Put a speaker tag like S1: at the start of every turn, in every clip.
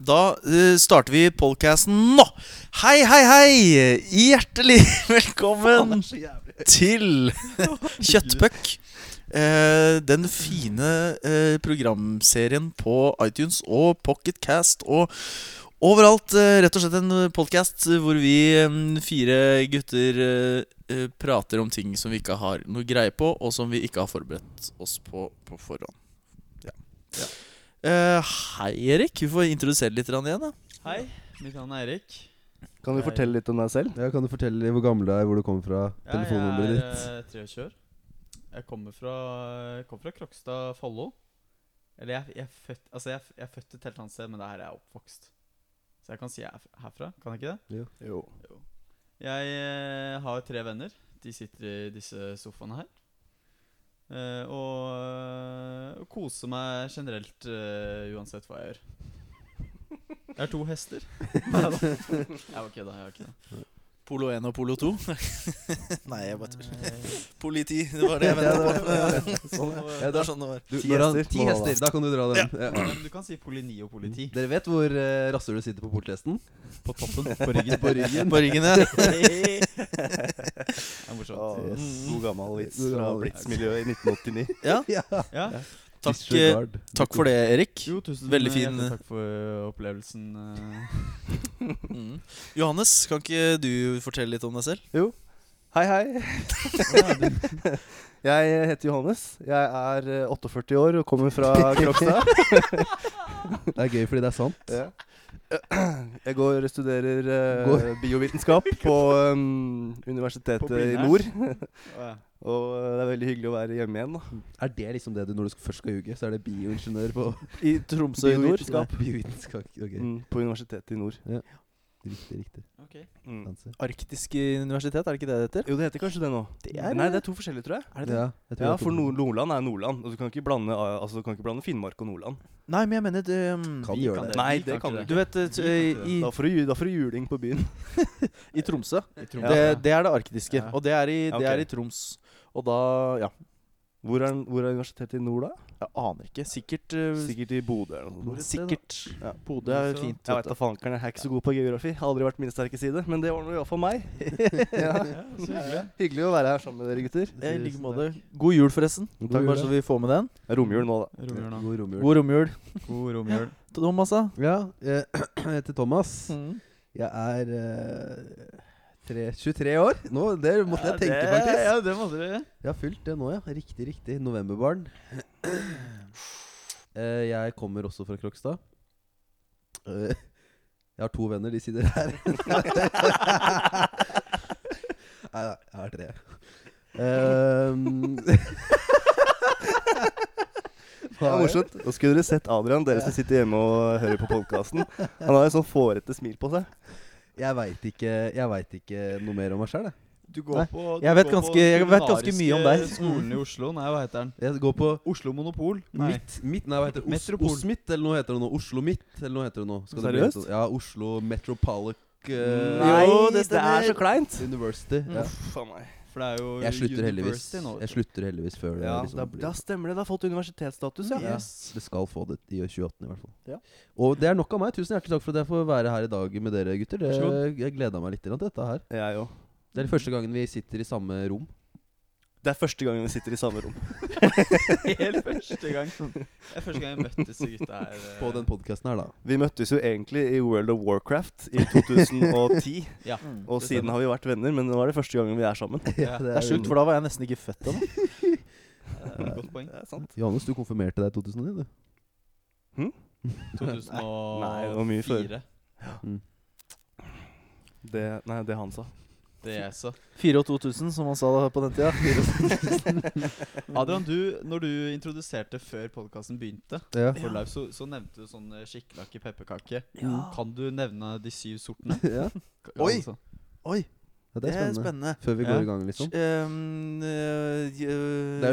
S1: Da eh, starter vi podcasten nå. Hei, hei, hei! Hjertelig velkommen til Kjøttpuck. Eh, den fine eh, programserien på iTunes og Pocketcast og overalt. eh, rett og slett en podkast hvor vi eh, fire gutter eh, eh, prater om ting som vi ikke har noe greie på, og som vi ikke har forberedt oss på på forhånd. Ja.
S2: Ja.
S1: Eh, hei, Erik. Vi får introdusere litt grann igjen. da
S3: Hei, mitt navn er Erik.
S4: Kan du
S3: Jeg-
S4: fortelle litt om deg selv?
S2: Ja, Kan du fortelle hvor gammel du er, hvor du kommer fra, telefonnummeret
S3: jeg
S2: ditt?
S3: er eh, 23 år. Jeg kommer fra, jeg kommer fra Krokstad, Follo. Eller jeg, jeg, er født, altså jeg, er f- jeg er født et helt annet sted, men det er her jeg er oppvokst. Så jeg kan si jeg er f- herfra, kan jeg ikke det?
S4: Jo.
S3: Jeg eh, har tre venner. De sitter i disse sofaene her. Eh, og, eh, koser meg generelt eh, uansett hva jeg gjør. Jeg har to hester. Nei da. Jeg var kødda. Jeg var kødda.
S1: Polo 1 og Polo 2. Nei, jeg bare tuller.
S3: Eh,
S1: Politi, det var det jeg ventet på.
S2: Sånn, ja. Ja,
S1: Det
S2: da,
S1: var sånn det var.
S2: du,
S4: Ti
S2: når han,
S4: hester,
S2: ti
S4: må han ha.
S2: hester, da kan du dra den. Ja.
S3: Men du kan si polini og politi.
S2: Dere vet hvor uh, rasshølet sitter på portresten?
S3: På toppen. På ryggen.
S2: På ryggen.
S1: På ryggen, ja.
S3: det er morsomt.
S4: yes. mm, God gammel vits
S2: God
S4: fra
S2: gammel vits.
S4: Blitz-miljøet i 1989.
S1: ja.
S3: Ja.
S1: Takk, eh,
S2: Disregard.
S1: takk for det, Erik.
S3: Jo, tusen
S1: Veldig fin- eh,
S3: hjertelig Takk for ø, opplevelsen. eh. ø.
S1: Mm. Johannes, kan ikke du fortelle litt om deg selv?
S4: Hei, hei. Jeg heter Johannes. Jeg er eh, 48 år og kommer fra Krokstad.
S2: Det er gøy fordi det er sant.
S4: Ja. Jeg går og studerer eh,
S2: Går.
S4: biovitenskap på um, Universitetet
S3: På
S4: i
S3: Blindern.
S4: nord.
S3: Å, ja.
S4: Og eh, det er veldig hyggelig å være hjemme igjen. da
S2: Er det liksom det du når du skal- først skal ljuge, så er det bioingeniør på
S4: I Tromsø i nord.
S2: Biovitenskap. Biovitenskap. Ok,
S4: Mm, på Universitetet i nord.
S2: riktig, riktig.
S4: Mm.
S2: Fancy.
S1: Arktisk universitet, er det ikke det det heter?
S4: Jo, det heter kanskje det nå.
S1: Det er-
S4: Nei, det er to forskjellige, tror jeg.
S1: Er
S2: Ja,
S4: Ja,
S2: jeg tror det er
S4: for
S2: to-
S4: Nord Nordland er Nordland. Og du kan ikke blande, eh, altså, du kan ikke blande Finnmark og Nordland.
S1: Nei, men jeg mener det, um,
S2: Kan
S3: Vi
S2: gjøre
S3: kan
S2: det.
S3: det.
S4: Nei,
S3: Vi
S4: det kan
S3: ikke
S4: du
S1: Du vet, eh, i,
S4: Da får du, ju- da får du juling på byen.
S1: i Tromsø
S3: I
S1: det,
S3: Tromsø.
S1: det er det arktiske,
S3: Ja.
S1: og det er, i, det
S4: Ok.
S1: er i Troms. Og da Ja,
S4: Hvor er, hvor er universitetet i nord, da?
S1: jeg aner ikke. Sikkert eh,
S4: Sikkert i Bodø eller noe sånt.
S1: Sikkert.
S4: Ja.
S1: Bodø er
S3: Tromsø.
S1: fint. vet
S4: Jeg veit
S1: du.
S4: da fankeren, jeg er ikke så god på geografi. Har aldri vært min sterke side, men det var nå iallfall meg. ja.
S3: Ja, så hyggelig.
S4: Hyggelig å være her sammen med dere gutter.
S1: Ja, I like måte. God jul, forresten.
S2: God
S1: Takk
S2: jul,
S1: bare
S2: ja.
S1: så vi får med den.
S4: Det er romjul nå, da.
S3: Romjul nå.
S2: God romjul.
S1: God romjul.
S3: God romjul.
S1: Thomas, da?
S2: Ja, jeg heter Thomas.
S1: Mm.
S2: Jeg er eh, tre, 23 år. Nå, det måtte jeg tenke,
S3: det,
S2: faktisk.
S3: Ja, det måtte du.
S2: Jeg har fylt det nå, ja. Riktig, riktig. Novemberbarn. Eh, jeg kommer også fra Krokstad. Eh, jeg har to venner, de sitter her. Nei da, jeg har tre. Um,
S4: Det er morsomt. Nå skulle dere sett Adrian, dere som sitter hjemme og hører på podkasten. Han har jo sånn fårete smil på seg.
S2: Jeg veit ikke, jeg vet ikke noe mer om meg sjøl, jeg.
S3: Du går
S1: Nei,
S3: på du
S1: jeg vet
S3: går på
S1: ganske- jeg vet ganske mye om deg.
S3: kulinariske Skolen i Oslo. Nei, hva heter den?
S2: Jeg går på
S3: Oslo Monopol. Nei.
S2: Mitt, mitt, nei, hva heter det? Os,
S3: Metropol.
S2: Osmitt, eller noe heter det nå? Oslo Mitt, eller noe heter det nå? Skal det bli
S4: Seriøst?
S2: sånn- Ja, Oslo Metropolic eh,
S1: Nei,
S4: Jo,
S1: det
S4: Det er så kleint.
S2: University. Ja.
S4: Uff a meg.
S3: For det er jo
S2: Jeg slutter heldigvis
S3: University nå, vet
S2: Jeg
S3: du.
S2: slutter heldigvis før det
S4: Ja,
S2: liksom
S4: da,
S2: blir-
S4: da stemmer det. Det har fått universitetsstatus, ja.
S2: Ja, Det skal få det i 2018 i hvert fall.
S4: Ja.
S2: Og det er nok av meg. Tusen hjertelig takk for at jeg får være her i dag med dere gutter.
S3: Vær så
S2: Det, jeg gleda meg litt til dette her.
S4: Jeg òg.
S2: Det er første gangen vi sitter i samme rom.
S4: Det er første gangen vi sitter i samme rom.
S3: Helt første gang. Det er første gang jeg møtte disse gutta eh, her. ø.
S2: På den podkasten her, da.
S4: Vi møttes jo egentlig i World of Warcraft i 2010.
S3: Ja.
S4: Og
S3: Det
S4: siden
S3: stemmer.
S4: har vi vært venner, men nå er det første gangen vi er sammen.
S3: Ja,
S1: Det er sjukt, for da var jeg nesten ikke født ennå.
S3: Det er et Eh, Godt poeng.
S4: Det er sant.
S2: Johannes, du konfirmerte deg i 2009, du.
S3: 2004.
S4: Nei, det var mye før. Det, nei, det han sa.
S3: Det jeg så.
S1: 4 og 2000, som man sa da på den tida.
S3: Adrian, du, når du introduserte før podkasten begynte,
S2: Ja.
S3: for live, så, så nevnte du sånn eh, skikkelakke pepperkake. Kan du nevne de syv sortene?
S2: ja.
S3: K-
S1: Oi!
S3: altså?
S1: Oi,
S2: ja,
S1: det er spennende.
S2: Før vi
S3: Ja.
S2: går i gang, liksom.
S1: Um, øh, øh,
S2: Det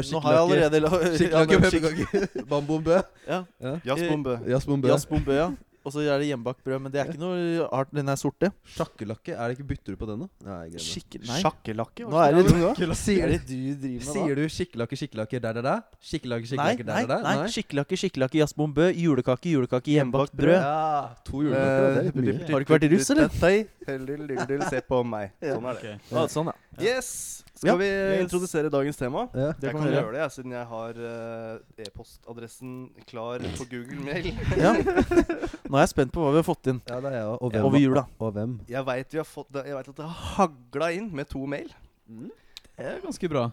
S1: nå har
S2: er jo
S1: jeg
S2: skikkelig
S1: allerede la-
S2: Skikkelig
S1: Ja, det er
S2: pepperkake. Bambombø.
S1: Ja.
S2: Ja.
S4: Jazzbombe.
S2: Jazzbombø.
S1: Jazzbombø, ja. Og så er det hjemmebakt brød. Men det er ikke noe art. Den er sorte.
S2: Sjakkelakke, er det ikke bytter du på den, da? Nei, jeg glemmer.
S1: Skikkelig Nei.
S4: Sjakkelakke?
S1: Nå er det
S2: Sier
S1: Er det
S2: du-
S1: du driver med da?
S2: Sier du skikkelakke, skikkelakke, der, der, der? Skikkelakke,
S1: Nei,
S2: skikkelakke,
S1: nei,
S2: der, der, der?
S1: nei. skikkelakke, skikkelakke, jazzbombe, julekake, julekake, hjemmebakt
S4: Hjemmebakt
S1: brød.
S2: Ja,
S4: Eh,
S2: to julekaker, det er litt mye.
S1: Har du ikke vært russ, eller?
S4: Se på meg. Sånn er det.
S3: Ok.
S1: Ja, sånn, ja.
S4: Yes!
S1: Ja.
S4: Skal vi
S3: Yes.
S4: introdusere dagens tema?
S2: Ja.
S1: Det
S4: jeg
S1: kan vi
S4: kan
S1: gjøre.
S4: gjøre det, jeg, siden jeg har eh, e-postadressen klar på Google Mail.
S1: Ja. Nå er jeg spent på hva vi har fått inn
S2: Ja, det er jeg òg. Og hvem?
S1: over jula.
S2: Og hvem?
S4: Jeg veit at det har hagla inn med to mail,
S3: Det er ganske bra.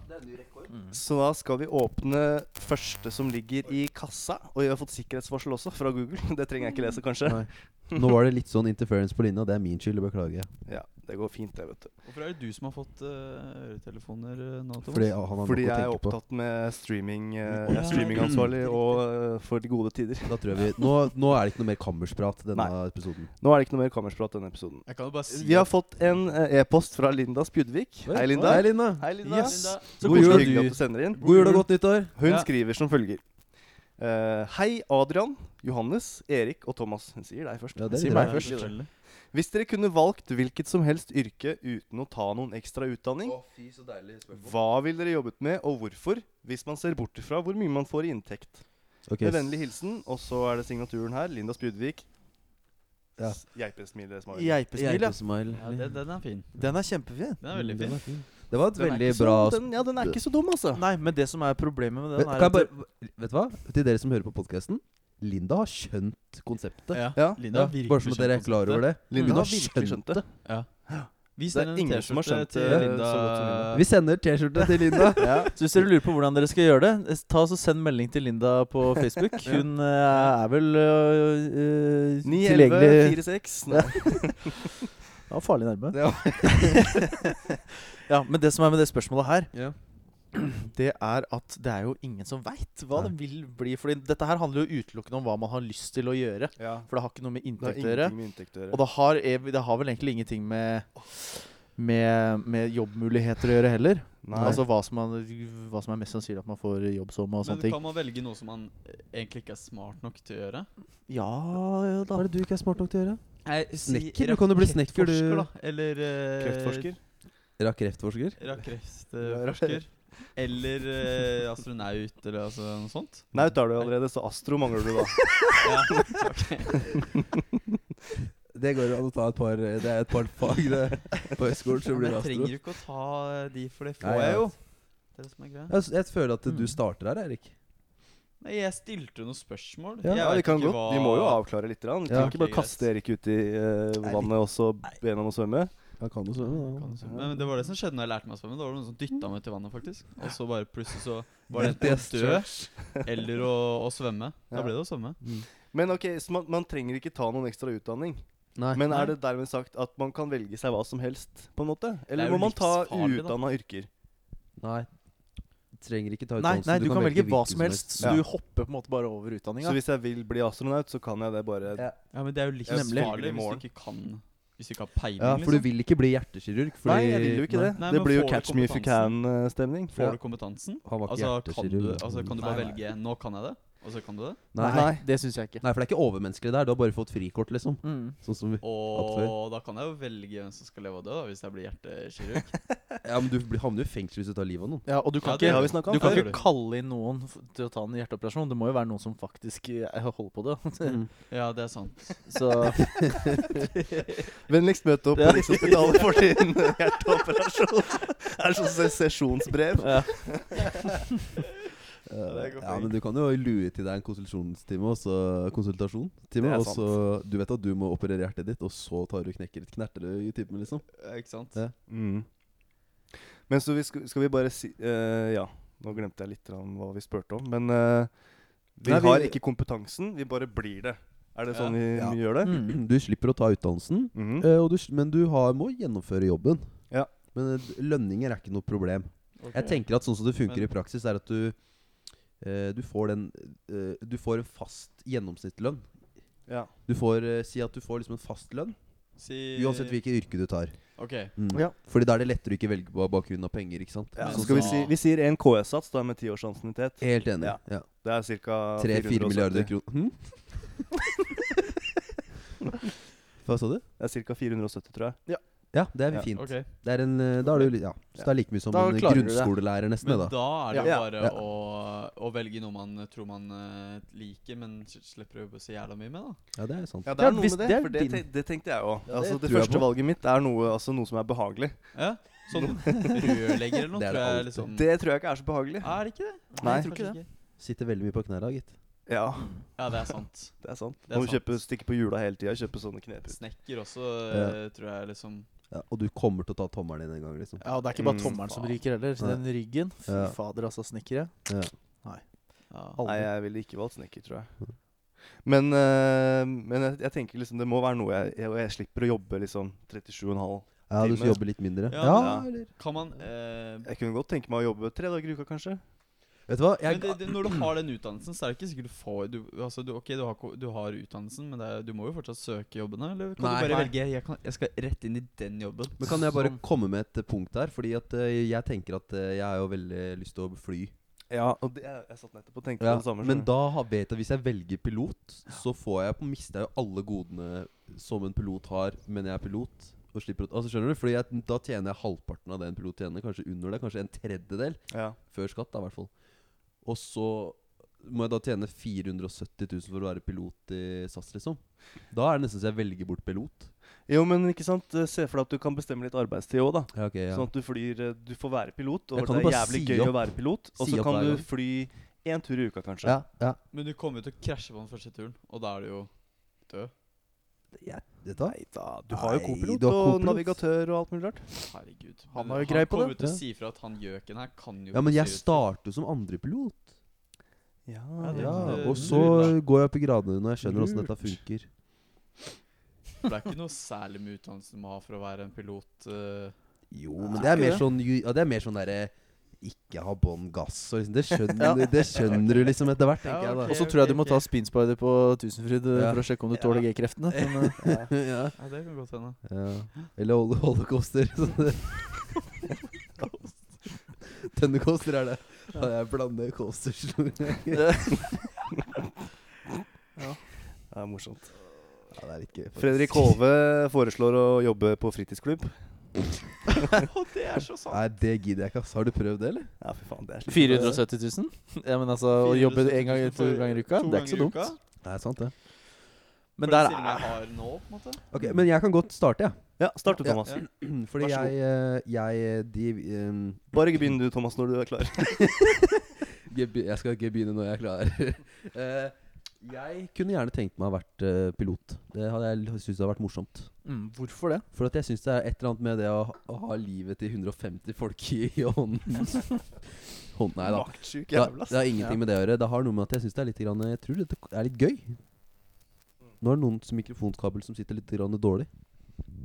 S1: Mm.
S4: så da skal vi åpne første som ligger i kassa. Og vi har fått sikkerhetsvarsel også, fra Google. Det trenger jeg ikke lese, kanskje.
S2: Nei. Nå var det litt sånn interference på linja, det er min skyld, jeg beklager.
S4: Ja, Det går fint, det, vet du.
S3: Hvorfor er det du som har fått eh, øretelefoner eh, nå, Thomas?
S2: Fordi han har nok
S4: Fordi
S2: å
S4: jeg er
S2: tenke på.
S4: opptatt med streaming. eh,
S2: Mm.
S4: jeg er streamingansvarlig og eh, for de gode tider.
S2: Da tror jeg vi nå, nå er det ikke noe mer kammersprat denne episoden.
S4: Nå er det ikke noe mer kammersprat denne episoden.
S3: Jeg kan jo bare si
S4: Vi har fått en eh, e-post fra Linda Spjudvik. Hei, Linda.
S2: Hei, Linda.
S4: Hei, Linda.
S3: Yes. Linda,
S4: Så
S2: God jul.
S4: koselig hyggelig at du sender inn.
S2: God jul og godt nyttår.
S4: Hun
S3: Ja.
S4: skriver som følger. Eh, hei, Adrian, Johannes, Erik og Thomas. Hun sier deg først.
S2: Ja, det
S4: Sier
S2: liker
S4: meg
S2: jeg.
S4: først. Hvis dere kunne valgt hvilket som helst yrke uten å ta noen ekstra utdanning,
S2: fy, så deilig
S4: hva ville dere jobbet med, og hvorfor? Hvis man ser bort ifra hvor mye man får i inntekt. Med vennlig hilsen, og så er det signaturen her. Linda Spjudvik.
S2: Ja.
S4: S- Geipesmile, smiley.
S1: Geipesmil, ja.
S3: Ja, det, den er fin.
S1: Den er kjempefin.
S3: Den er veldig fin.
S2: Det var et
S4: Den er
S2: veldig
S4: ikke
S2: bra
S4: Så, den, ja, den er ikke så dum, altså.
S1: Nei, men det som er problemet med
S2: Vet,
S1: sånn, den, er
S2: kan jeg
S1: at det-
S2: bare, vet du hva? Til dere som hører på podkasten. Linda har skjønt konseptet.
S3: Ja.
S4: Ja.
S3: Linda har
S2: bare sånn
S3: virkelig
S2: at dere er
S3: skjønt
S2: klar
S3: konseptet.
S2: over det.
S4: Linda
S2: Hun
S4: har
S2: har
S4: virkelig
S2: skjønt
S4: skjønt det.
S3: Vi
S4: Det er
S3: sender en
S4: ingen som har
S3: T-skjorte
S4: skjønt
S3: til
S4: det
S3: Linda. eh,
S4: så godt som Linda.
S2: Vi sender T-skjorte til Linda.
S4: Ja.
S1: så hvis dere lurer på hvordan dere skal gjøre det, eh, ta og så send melding til Linda på Facebook. Hun eh, er vel eh, eh,
S4: 9, 11,
S1: tilgjengelig
S4: 4, 6. Nei.
S1: Ja, farlig nærme.
S2: Ja.
S1: ja, men det som er med det spørsmålet her,
S2: Ja.
S1: det er at det er jo ingen som veit hva det vil bli. Fordi dette her handler jo utelukkende om hva man har lyst til å gjøre.
S4: Ja.
S1: For det har ikke noe med
S4: Det har
S1: inntekt å gjøre.
S4: ingenting med inntekt å gjøre.
S1: Og det har, ev- det har vel egentlig ingenting med, med, med jobbmuligheter å gjøre heller.
S4: Nei.
S1: Altså hva som, man, hva som er mest sannsynlig at man får jobb som og
S3: Men
S1: sånne ting.
S3: kan man velge noe som man eh, egentlig ikke er smart nok til å gjøre?
S1: Ja, ja
S2: Hva
S1: da.
S2: er det du ikke er smart nok til å gjøre?
S3: Nei,
S2: Snekker? Du kan jo bli snekker, du.
S3: rakettforsker, Da. Eller eh,
S4: Kreftforsker.
S2: Rakettforsker?
S3: Rakettforsker. Eller eh, astronaut, eller altså noe sånt.
S4: Naut er du allerede, så astro mangler du da.
S3: Ja.
S2: Det går an å ta et par Det er et par fag det, på høyskolen, så
S3: Men
S2: blir det
S3: jeg
S2: astro.
S3: trenger jo ikke å ta eh, de, for det
S2: Nei,
S3: får jeg
S2: ja.
S3: jo. Det er det som er greia.
S2: Jeg, s- jeg føler at du
S1: Mm.
S2: starter her, Erik.
S3: Nei, jeg stilte jo noen spørsmål.
S2: Ja.
S3: Jeg
S4: Ja,
S3: vet
S4: vi kan
S3: ikke
S4: godt. Vi må jo avklare litt. Grann. Vi
S2: Ja.
S4: kan ikke bare
S3: Ok,
S4: kaste Erik ut i eh,
S2: Nei, vi-
S4: vannet og så be ham om å svømme.
S2: Jeg kan jo svømme,
S3: Men, men det var det som skjedde når jeg lærte meg å svømme. Da var det noen som dytta meg ut i vannet, faktisk. Og så bare plutselig så var det
S2: Det er
S3: enten å dø eller å, å svømme.
S4: Ja.
S3: Da ble det å svømme.
S2: Mm.
S4: Men ok, så man, man trenger ikke ta noen ekstra utdanning.
S2: Nei.
S4: Men er det dermed sagt at man kan velge seg hva som helst, på en måte?
S3: Det
S4: Eller
S3: er jo
S4: må man ta
S3: livsfarlig, da.
S4: uutdanna yrker?
S2: Nei. Trenger ikke ta
S1: Nei,
S2: utdannelsen.
S1: nei, du, kan, velge hva
S2: hvilken
S1: som helst. Så
S4: Ja.
S1: du hopper på en måte bare over
S4: Så
S1: utdanninga.
S4: hvis jeg vil bli astronaut, så kan jeg det bare
S2: Ja.
S3: Ja, men det er jo
S4: Jeg
S1: Nemlig.
S4: skulle i
S3: livsfarlig hvis
S4: morgen.
S3: du ikke kan Hvis du ikke har peiling,
S2: Ja, for du
S3: liksom.
S2: vil ikke bli hjertekirurg. Fordi
S4: Nei, jeg vil jo ikke det. det
S3: Nei, men
S4: blir jo
S3: får du
S4: catch me if you eh,
S3: kompetansen?
S4: can-stemning.
S3: Får
S2: Ja.
S3: du kompetansen?
S2: Han var ikke
S3: Altså kan, du,
S2: hjertekirurg.
S3: altså kan du bare
S1: Nei, nei.
S3: velge 'nå kan jeg det', og så kan du det?
S2: Nei.
S1: Nei, det syns jeg ikke.
S2: Nei, for det er ikke overmenneskelig der. Du har bare fått frikort, liksom.
S1: Mm.
S2: Sånn som vi.
S3: Og da kan jeg jo velge hvem som skal leve og dø, da, hvis jeg blir hjertekirurg.
S2: Ja, men du blir- havner jo i fengsel hvis du tar livet av noen.
S1: Ja, og du
S3: Ja,
S1: kan
S3: det
S1: ikke
S4: har vi snakket om
S1: Du kan
S4: før.
S1: ikke kalle inn noen f- til å ta en hjerteoperasjon. Det må jo være noen som faktisk eh, holder på det.
S3: Ja, det er sant.
S1: Så
S4: Vennligst møt opp
S1: Ja.
S4: på Rikshospitalet for din hjerteoperasjon. Det er sånn se- sesjonsbrev.
S1: ja.
S2: Eh,
S4: det går
S2: Ja,
S4: fint.
S2: men du kan jo lue til deg en konsultasjonstime, og så konsultasjonstime,
S4: Det er
S2: og så Du vet at du må operere hjertet ditt, og så tar du knekker litt knerter du i typen, liksom.
S3: Ja, Eh, Ikke sant?
S2: Ja.
S4: Mm. Men så vi skal, skal vi bare si eh, Ja, nå glemte jeg litt grann hva vi spurte om. Men eh, vi
S2: Nei, vi-
S4: har ikke kompetansen, vi bare blir det. Er det
S3: Ja.
S4: sånn vi
S2: Ja.
S4: vi gjør det?
S1: Mm.
S2: Du slipper å ta utdannelsen,
S4: Mhm.
S2: eh, og du, sl- men du har, må gjennomføre jobben.
S4: Ja.
S2: Men eh, lønninger er ikke noe problem. Jeg tenker at sånn som det funker
S3: Men-
S2: i praksis, er at du eh, Du får den eh, Du får en fast gjennomsnittslønn.
S4: Ja.
S2: Du får eh, Si at du får liksom en fast lønn,
S4: Eh.
S3: Si-
S2: uansett hvilket yrke du tar.
S3: Ok.
S2: Mm.
S1: Ja.
S2: Fordi da er det lettere å ikke velge på bakgrunn av penger, ikke sant?
S4: Ja,
S3: Men
S4: så
S2: Sånn
S4: skal vi,
S2: som-
S4: si, vi sier en KS-sats da med tiårsansiennitet.
S2: Helt enig.
S4: Ja.
S2: Ja.
S4: Det er ca.
S2: 3-4 milliarder kroner. Hm? Hva sa du?
S4: Det er ca. 470, tror jeg.
S2: Ja, det er
S4: Ja,
S2: fint.
S3: Ok,
S2: Det er en, eh, da er det, jo- ja. Så det er like mye som
S4: Da
S2: en
S4: klarer du det.
S2: grunnskolelærer, nesten.
S3: Men da
S2: det da.
S3: er det jo
S4: Ja.
S3: bare
S2: Ja.
S3: å, å velge noe man tror man eh, liker, men s- slipper å jobbe så jævla mye med, da.
S2: Ja, det er sant.
S4: Ja, det
S1: Ja,
S4: er noe
S1: hvis
S4: med det.
S1: det er
S4: for det,
S1: din-
S4: te- det tenkte jeg òg.
S2: Ja, det
S4: altså, det
S2: tror jeg
S4: første
S2: på.
S4: valget mitt er noe, altså, noe som er behagelig.
S3: Ja? Sånn rørlegger eller noe,
S2: Det er
S3: tror
S2: det
S3: jeg
S2: alltid.
S3: liksom
S4: Det tror jeg ikke er så behagelig.
S3: Er det ikke det?
S4: Nei.
S3: tror
S5: ikke
S3: det.
S2: Sitter veldig mye på knærne, gitt.
S4: Ja,
S3: Ja, det er sant.
S4: det er sant.
S3: Det er
S4: Må
S3: sant.
S4: kjøpe stikke på hjula hele tida. Kjøpe sånne kneputer.
S3: Snekker også, eh, tror jeg liksom
S2: Ja, og du kommer til å ta tommelen din en gang, liksom.
S5: Ja, det er ikke bare
S4: Mm.
S5: tommelen som ryker heller. Den ryggen. Fy
S2: Ja.
S5: fader, altså, snekkere.
S3: ja.
S4: Nei,
S5: Aldri.
S4: jeg ville ikke valgt snekker, tror jeg. Men, øh, men jeg, jeg tenker liksom det må være noe jeg, jeg, og jeg slipper å jobbe liksom 37,5.
S2: Ja, du skal
S4: Time.
S2: jobbe litt mindre.
S3: Ja,
S2: Ja,
S4: ja.
S2: eller
S3: Kan man eh,
S4: Jeg kunne godt tenke meg å jobbe tre dager i uka, kanskje.
S2: Vet du hva?
S3: men
S2: Jeg,
S3: det, det, Når du har den utdannelsen, så er det ikke sikkert du får du, altså, du, Ok, du har, ko- du har utdannelsen, men det er, du må jo fortsatt søke jobbene? Eller kan
S5: Nei,
S3: du bare
S5: nei.
S3: velge jeg, kan, 'jeg skal rett inn i den jobben'?
S2: men kan jeg bare
S5: Sånn.
S2: komme med et eh, punkt der? Fordi at eh, jeg tenker at eh, jeg har jo veldig lyst til å fly.
S4: Ja, og det, jeg, jeg satt nettopp og tenkte
S2: Ja,
S4: på det samme.
S2: men
S4: skjønner du.
S2: da har- vet jeg at hvis jeg velger pilot, så får jeg, mister jeg jo alle godene som en pilot har, men jeg er pilot. Og slipper, å- altså skjønner du? Fordi jeg, Da tjener jeg halvparten av det en pilot tjener. Kanskje under det, kanskje en tredjedel.
S4: ja.
S2: Før skatt, da, i hvert fall. Og så må jeg da tjene 470 000 for å være pilot i SAS, liksom. Da er det nesten så jeg velger bort pilot.
S4: Jo, men ikke sant, eh, se for deg at du kan bestemme litt arbeidstid òg, da.
S2: Ja, ok, ja.
S4: Sånn at du flyr eh, Du får være pilot,
S2: Jeg
S4: og
S2: kan
S4: det
S2: jo
S4: er
S2: bare
S4: jævlig
S2: si
S4: gøy
S2: opp.
S4: å være pilot. Og
S2: Si
S4: så
S2: opp
S4: kan
S2: hver
S4: du
S2: gang.
S4: fly én tur i uka, kanskje.
S2: ja, ja.
S3: Men du kommer jo til å krasje på den første turen, og da er du jo død.
S2: Jeg, vet du hva?
S4: Da, du har jo
S2: Nei,
S4: kopilot
S2: du har
S4: og
S2: kopilot.
S4: navigatør og alt mulig rart.
S3: Herregud.
S5: Han
S3: Men
S5: er jo grei på
S3: kommer
S5: det.
S3: jo til
S2: Ja.
S3: å si fra at han gjøken her kan jo
S2: Ja, men jeg
S3: styre ut.
S2: starter jo som andrepilot.
S4: Ja,
S3: det-
S2: Ja,
S3: det-
S2: og
S3: det-
S2: så går jeg opp i gradene når jeg skjønner åssen dette
S5: Lurt.
S2: funker.
S3: Det er ikke noe særlig med utdannelsen du må ha for å være en pilot. eh.
S2: Jo,
S5: Nei,
S2: men det er
S5: ikke
S2: mer
S5: det.
S2: sånn, ju- ja, det er mer sånn derre ikke ha bånn gass og liksom. Det skjønner, det skjønner du liksom etter hvert, tenker
S3: Ja,
S2: jeg da.
S3: ok.
S5: Og så tror jeg du må ta spinspider på Tusenfryd eh,
S2: Ja.
S5: for å sjekke om du tåler G-kreftene. Men, eh,
S2: ja.
S3: Ja, det kan godt hende.
S2: ja. Eller hol holocauster. sånn det. Tønnecoaster er det. Ja, jeg blander coasters noen ganger.
S4: Det er morsomt.
S2: Ja, det er litt gøy. faktisk.
S4: Fredrik Hove foreslår å jobbe på fritidsklubb.
S3: Og det er så sant!
S2: Nei, det gidder jeg ikke, ass. Har du prøvd det, eller?
S4: Ja, fy faen, det er
S1: 470 000? Ja, men altså, å jobbe en gang,
S3: 470 000
S1: to
S3: for-
S1: ganger i uka,
S3: to
S1: det er ikke så
S3: ganger i
S1: dumt.
S3: uka,
S2: Nei, sant det.
S3: for
S5: men
S3: den
S5: der
S3: stillingen
S5: er
S3: jeg har nå, på en måte.
S2: Ok, Men jeg kan godt starte, jeg.
S4: Ja, start du,
S2: Ja.
S4: Thomas.
S3: Ja.
S2: Fordi
S4: Vær så god.
S2: jeg, eh, jeg de, em,
S4: Bare ikke begynn du, Thomas, når du er klar.
S2: Jeg be- jeg skal ikke begynne når jeg er klar. Eh, jeg kunne gjerne tenkt meg å ha vært eh, pilot. Det hadde jeg l- syntes hadde vært morsomt.
S5: mm, Hvorfor det?
S2: For at jeg syns det er et eller annet med det å, ha- å ha livet til 150 folk i, i hånden. Hånd, nei da.
S4: Maktsjuk
S2: Det har-
S4: jævla,
S2: det har ingenting med det å gjøre. Det har noe med at jeg syns det er litt grann, Jeg tror dette er litt gøy. Nå er det noens mikrofonkabel som sitter litt grann dårlig.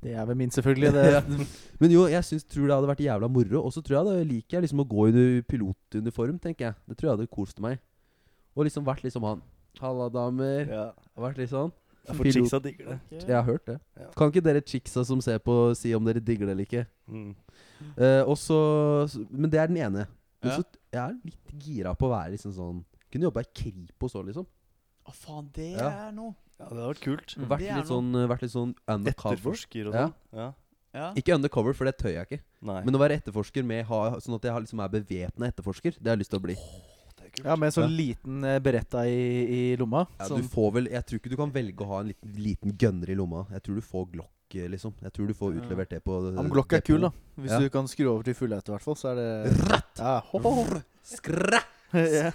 S5: Det er vel min, selvfølgelig. Det.
S2: Men jo, jeg syns, tror det hadde vært jævla moro. Og så tror jeg det liker jeg liksom å gå i du- pilotuniform, tenker jeg. Det tror jeg hadde kost meg. Og liksom vært liksom han. Halla, damer.
S4: Ja.
S2: Det har vært litt sånn.
S4: Jeg får
S2: Pilot.
S4: chicks av digger det.
S2: Jeg har hørt det.
S4: Ja.
S2: Kan ikke dere chicksa som ser på, si om dere digger det eller ikke?
S4: Mm.
S2: Eh, og så- så- men det er den ene. Men
S3: Ja.
S2: så jeg er litt gira på å være liksom sånn Kunne jobba i Kripos òg, liksom.
S3: Å, faen, det
S2: Ja.
S3: er noe!
S4: Ja, det hadde vært kult.
S5: Mm.
S2: Vært
S3: Det er
S2: litt sånn, vært litt sånn undercover.
S4: Etterforsker og
S2: Ja.
S4: sånn. Ja.
S3: Ja.
S2: Ikke undercover, for det tør jeg ikke.
S4: Nei.
S2: Men å være etterforsker med ha, sånn at jeg har- liksom er bevæpna etterforsker, det har jeg lyst til å bli.
S4: det er kult.
S5: Ja, Med en sånn liten eh, beretta i, i lomma.
S2: Ja, du
S5: Sånn.
S2: får vel Jeg tror ikke du kan velge å ha en liten, liten gunner i lomma. Jeg tror du får Glock, eh, liksom. Jeg tror du får
S3: Ja.
S2: utlevert det på eh,
S5: Ja, men Glock er
S2: depot.
S5: kul, da. Hvis
S2: Ja.
S5: du kan skru over til fulle etter hvert fall, så er det Ja, hopp, hopp, hopp.
S2: Skræ!
S5: ja.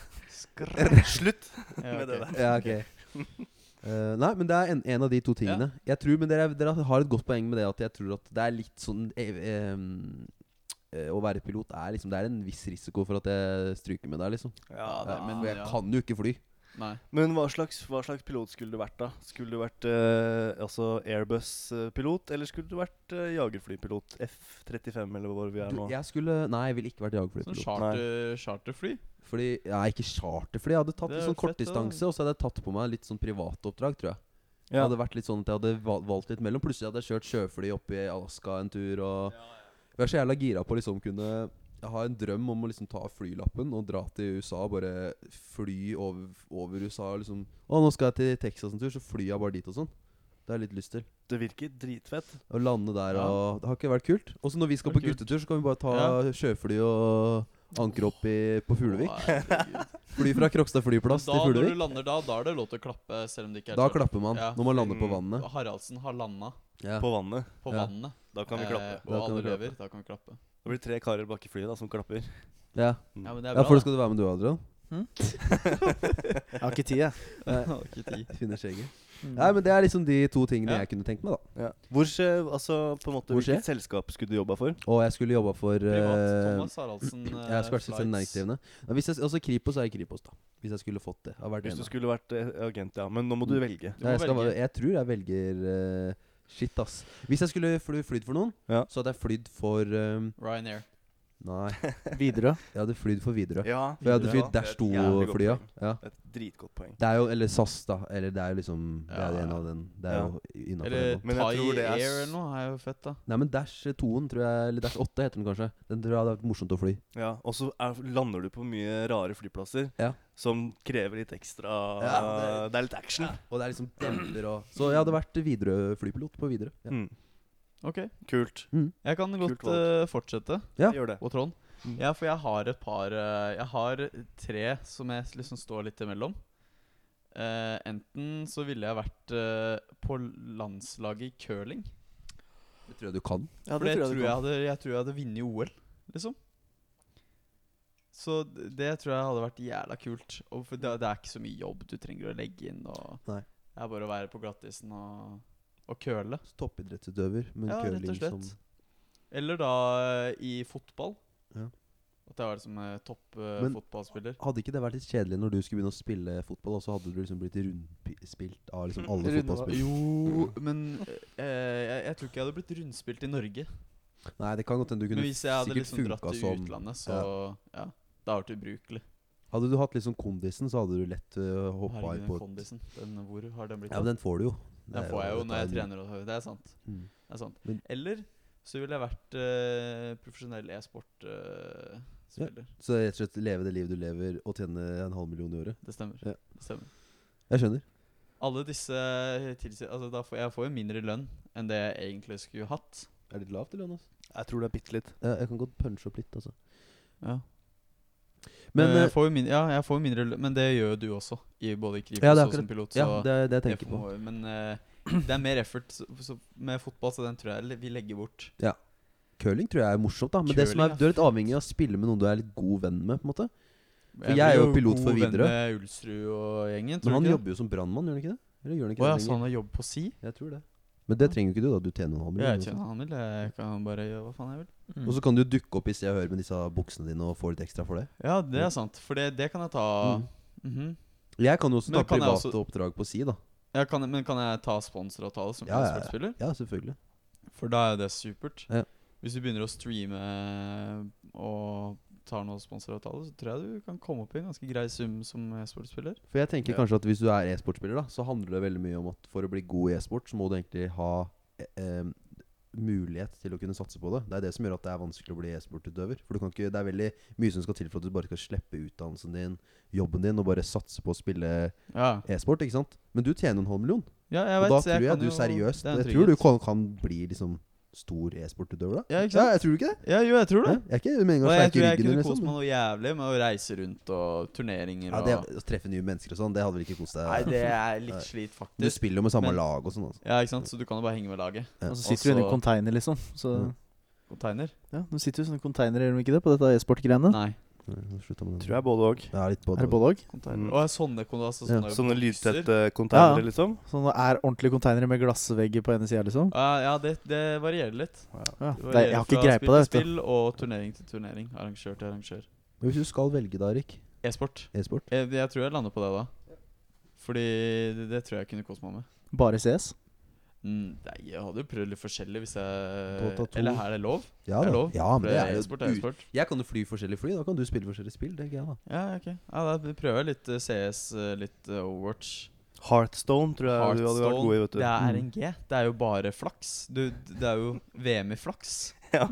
S4: Slutt
S3: Ja,
S4: med det
S3: ok.
S4: der.
S2: Ja, ok Eh, Nei, men det er en, en av de to tingene. Jeg tror, Men dere, dere har et godt poeng med det at jeg tror at det er litt sånn eh, em, eh, Å være pilot er liksom Det er en viss risiko for at jeg stryker med der, liksom.
S4: Ja,
S3: Ja,
S4: det.
S3: det- men
S2: For jeg
S3: ja.
S2: kan jo ikke fly.
S3: Nei.
S4: Men hva slags, hva slags pilot skulle du vært, da? Skulle du vært eh, altså Airbus-pilot, eller skulle du vært eh, jagerflypilot? F-35, eller hvor vi er
S2: Du,
S4: nå?
S2: jeg skulle Nei, jeg ville ikke vært
S3: Sånn
S2: jagerflypilot.
S3: charter, charterfly.
S2: Fordi Nei, ikke charterfly. Jeg hadde tatt
S3: Det
S2: litt
S3: er fett,
S2: sånn
S3: da.
S2: kortdistanse, og så hadde jeg tatt på meg litt sånn privatoppdrag, tror jeg. Det
S4: Ja.
S2: hadde vært litt sånn at jeg hadde val- valgt litt mellom. Plutselig hadde jeg kjørt sjøfly oppe i Alaska en tur. Og jeg er så jævla gira på å liksom kunne Jeg har en drøm om å liksom ta flylappen og dra til USA. Bare fly over, over USA. og Liksom. Å, nå skal jeg til Texas en tur, så flyr jeg bare dit og sånn. Det har jeg litt lyst til.
S4: Det virker dritfett.
S2: Å lande der
S3: Ja.
S2: og Det har ikke vært kult. Også når vi skal
S3: Vært
S2: på
S3: kult.
S2: guttetur, så kan vi bare ta
S3: Ja.
S2: sjøfly og ankre opp i, på Fuglevik.
S3: Herregud.
S2: Fly fra Krokstad flyplass
S3: da,
S2: til
S3: når du
S2: Fuglevik.
S3: lander da, da er det lov til å klappe, selv om det ikke er
S2: Da
S3: så-
S2: klapper man
S3: Ja.
S2: når man lander på
S4: Mm.
S2: vannet.
S3: Haraldsen har landa
S2: Ja.
S4: På vannet.
S3: på
S2: Ja.
S3: vannet,
S4: Da kan vi
S3: eh,
S4: klappe.
S3: og
S2: Da kan
S3: alle
S2: vi klappe. Mm.
S3: lever. Da kan vi klappe.
S4: Det blir tre karer bak i flyet da som klapper.
S2: Ja.
S3: Ja, men det er
S2: ja,
S3: bra.
S2: for da skal du være med, du, Adrian.
S1: Jeg har ikke tid, jeg.
S3: da. Ikke tid.
S2: Jeg finner skjegget. Nei, men det er liksom de to tingene
S3: Mm. Ja.
S2: jeg kunne tenkt meg, da.
S4: Ja. Hvor skje, altså, på en måte,
S2: Hvor skje?
S4: Hvilket selskap skulle du jobba for?
S2: Og jeg skulle jobba for
S3: Privat.
S2: eh,
S3: Thomas Haraldsen. eh,
S2: Jeg skulle vært
S3: flights.
S2: selvstendig næringsdrivende. Men hvis jeg, altså Kripos er Kripos, da. Hvis jeg skulle fått det. Mm. Har vært
S4: Hvis
S2: en
S4: du
S2: av.
S4: skulle vært eh, agent, ja. Men nå må du velge.
S3: Du
S2: Nei,
S3: må
S2: jeg, skal, e-
S3: velge.
S2: jeg tror jeg velger eh, Shit, ass. Hvis jeg skulle fly, flydd for noen,
S4: Ja.
S2: så hadde jeg flydd for eh,
S3: Ryanair.
S2: Nei,
S1: Widerøe.
S2: jeg hadde flydd for Widerøe.
S4: Ja,
S2: For jeg hadde flydd
S4: det er
S2: Dash
S4: et jævlig godt
S2: 2-flya.
S4: poeng.
S2: Ja.
S4: Et dritgodt poeng.
S2: Det er jo Eller SAS, da. Eller det er jo liksom Det er jo
S3: Ja.
S2: en av den Det er
S4: Ja.
S2: jo innafor
S3: Eller
S2: den. nå.
S4: Men jeg tror
S3: Thai
S4: det er s-
S3: Air eller noe er jo fett, da.
S2: Nei, men Dash 2-en tror jeg Eller Dash 8 heter den kanskje. Den tror jeg hadde vært morsomt å fly.
S4: Ja, Og så er, lander du på mye rare flyplasser
S2: Ja.
S4: som krever litt ekstra
S2: Ja,
S4: det, er litt action.
S2: Og det er liksom demper og Så jeg hadde vært Widerøe-flypilot på Widerøe. Ja. Mm.
S4: Mm.
S3: Ok.
S4: Kult.
S3: Jeg kan godt
S4: valg.
S3: eh, fortsette.
S2: Ja.
S4: Gjør det.
S3: Og Trond.
S4: Mm.
S3: Ja, for jeg har et par eh, Jeg har tre som jeg liksom står litt imellom. Eh, enten så ville jeg vært eh, på landslaget i curling.
S2: Det tror jeg du kan.
S4: Ja,
S3: For det tror jeg, hadde, jeg tror jeg hadde vunnet OL, liksom. Så d- det tror jeg hadde vært jævla kult. Og for det, det er ikke så mye jobb du trenger å legge inn. Og
S2: Nei.
S3: Det er bare å være på glattisen og, og køle.
S2: Toppidrettsutøver, men
S3: Ja, rett og
S2: curling som
S3: slett. Eller da eh, i fotball.
S2: Ja.
S3: At jeg var liksom eh, topp eh,
S2: Men-
S3: fotballspiller.
S2: Hadde ikke det vært litt kjedelig når du skulle begynne å spille fotball, og så hadde du liksom blitt rundspilt av liksom alle
S1: Runde-
S2: fotballspillere?
S3: Jo, men eh, jeg, jeg tror ikke jeg hadde blitt rundspilt i Norge.
S2: Nei, det kan godt hende du
S3: Men
S2: kunne
S3: hvis jeg hadde
S2: sikkert sånn,
S3: liksom dratt
S2: funka
S3: til
S2: som
S3: utlandet, så ja. Det hadde vært ubrukelig.
S2: Hadde du hatt liksom kondisen, så hadde du lett uh, hoppa
S3: Herregud,
S2: inn
S3: den
S2: på et
S3: kondisen. Den, hvor har den blitt
S2: Ja,
S3: av?
S2: men den får du jo. Det
S3: Den
S2: er
S3: får jeg jo
S2: dette
S3: når jeg
S2: er en-
S3: trener. og- Det er sant.
S2: Mm.
S3: Det er sant.
S2: Men-
S3: Eller så ville jeg vært eh, profesjonell eh, e-sport-spiller.
S2: Så rett og slett leve det livet du lever, og tjene en halv million i året.
S3: Det stemmer.
S2: Ja.
S3: Det stemmer.
S2: Jeg skjønner.
S3: Alle disse tilsier Altså, da får jeg får jo mindre lønn enn det jeg egentlig skulle hatt.
S2: Er det litt lavt, eller, Jonas?
S4: Jeg tror det er bitte litt.
S2: Ja, jeg kan godt punche opp litt, altså.
S3: Ja.
S2: Men
S3: jeg
S2: eh,
S3: får jo min, ja, jeg får jo mindre lønn, men det gjør jo du også, i både i Kripos
S2: Ja, det
S3: og
S2: er
S3: som
S2: akkurat-
S3: pilot. Så
S2: Ja, det er det jeg tenker på.
S3: må jo- Men eh, det er mer effort så, så med fotball, så den tror jeg le- vi legger bort.
S2: Curling tror jeg er morsomt, da. Men det som
S3: Curling
S2: er,
S3: er
S2: du er litt avhengig av å spille med noen du er litt god venn med, på en måte. jeg
S3: blir
S2: er jo pilot for
S3: god venn
S2: Widerøe.
S3: med Ulsrud og gjengen.
S2: Men
S3: Tror
S2: han
S3: du ikke det?
S2: jobber jo som brannmann, gjør han ikke det? Eller gjør han ikke
S3: Å ja, sånn.
S2: det
S3: så
S2: lenger?
S3: han har jobb på si?
S2: Jeg tror det. Men det trenger jo ikke du, da. Du tjener en halv
S3: Ja, jeg
S2: million.
S3: tjener
S2: også.
S3: han vil. Jeg kan bare gjøre hva faen jeg vil.
S2: Og så kan du dukke opp i Se og Hør med disse buksene dine og få litt ekstra for det.
S3: Ja, det er sant. For det, det kan jeg ta
S2: Mm.
S3: Mhm.
S2: Jeg kan jo også
S3: Men
S2: ta
S3: kan jeg
S2: private
S3: også-
S2: oppdrag på si, da.
S3: jeg kan, Men kan jeg ta sponsoravtale som
S2: Ja, ja, ja.
S3: e-sportspiller?
S2: Ja, selvfølgelig.
S3: For da er jo det supert.
S2: Ja.
S3: Hvis du begynner å streame og tar noen sponsoravtale, så tror jeg du kan komme opp i en ganske grei sum som e-sportspiller.
S2: For jeg tenker
S4: Ja.
S2: kanskje at hvis du er e-sportspiller, da, så handler det veldig mye om at for å bli god i e-sport, så må du egentlig ha eh, eh, mulighet til å kunne satse på det. Det er det som gjør at det er vanskelig å bli e-sportutøver. For du kan ikke, det er veldig mye som skal til for at du bare skal slippe utdannelsen din, jobben din, og bare satse på å spille
S3: Ja,
S2: e-sport, ikke sant? Men du tjener en halv million.
S3: ja jeg
S2: Og
S3: vet,
S2: da
S3: så jeg
S2: tror jeg
S3: kan
S2: du
S3: jo-
S2: seriøst
S3: det er en
S2: Jeg tror du
S3: trygghet.
S2: kan, kan bli liksom stor e-sportutøver, da.
S3: Ja, ikke sant?
S2: jeg tror du ikke det?
S3: Ja, jo, jeg tror
S2: Ja,
S3: det.
S2: Jeg er ikke meningen
S3: Og
S2: å
S3: jeg tror
S2: sleike
S3: jeg
S2: ryggen
S3: kunne
S2: din,
S3: kost
S2: liksom.
S3: meg noe jævlig med å reise rundt og turneringer
S2: Ja,
S3: og
S2: det, å treffe nye mennesker og sånn, det hadde vel ikke kost deg.
S3: Nei, det er
S2: Nei.
S3: litt slit,
S2: Du
S3: faktisk.
S2: spiller jo med samme
S3: Men-
S2: lag og sånn, altså.
S3: Ja, ikke sant? Så du kan jo bare henge med laget.
S1: Og så sitter du i en
S3: Også-
S1: container, liksom. Så
S3: Container?
S1: ja, De sitter jo i sånne containere, gjør de ikke det, på dette e-sport-greiene?
S3: Nei.
S2: Nei, nå slutta med den.
S4: Tror jeg både òg.
S2: Ja, litt på
S1: Er det både òg?
S3: Mm. Og sånne kon- altså, sånne
S4: Sånne
S3: bokser.
S4: lydtette containere,
S1: Ja.
S4: liksom.
S1: Sånn det er ordentlige containere med glassvegger på ene sida, liksom?
S3: Ja, ja det, det varierer litt.
S1: Ja,
S3: Det
S1: det,
S3: varierer
S1: jeg har ikke
S3: fra
S1: greie på
S3: spill
S1: det,
S3: til
S1: vet du.
S3: Spill og turnering til turnering. Arrangør til arrangør.
S2: Men hvis du skal velge da, Erik,
S3: E-sport.
S2: e-sport
S3: Jeg, jeg tror jeg lander på det, da. Fordi det, det tror jeg kunne kost meg med.
S1: Bare CS?
S3: Mm, nei, jeg hadde jo prøvd litt forskjellig hvis jeg
S2: Dota 2.
S3: Eller er det lov?
S2: Ja
S3: er
S2: da.
S3: lov.
S2: Ja,
S3: For
S2: men det er
S3: e-sport
S2: jo
S3: er
S2: ut-
S3: e-sport.
S2: Jeg kan jo fly forskjellige fly, da kan du spille forskjellige spill, tenker jeg da.
S3: Ja, ok. Ja, da prøver jeg litt eh, CS, eh, litt eh, Overwatch.
S4: Heartstone tror jeg du hadde vært god i, vet du.
S3: det er
S1: Mm.
S3: RNG. Det er jo bare flaks. Du, det er jo VM i flaks.
S4: Ja.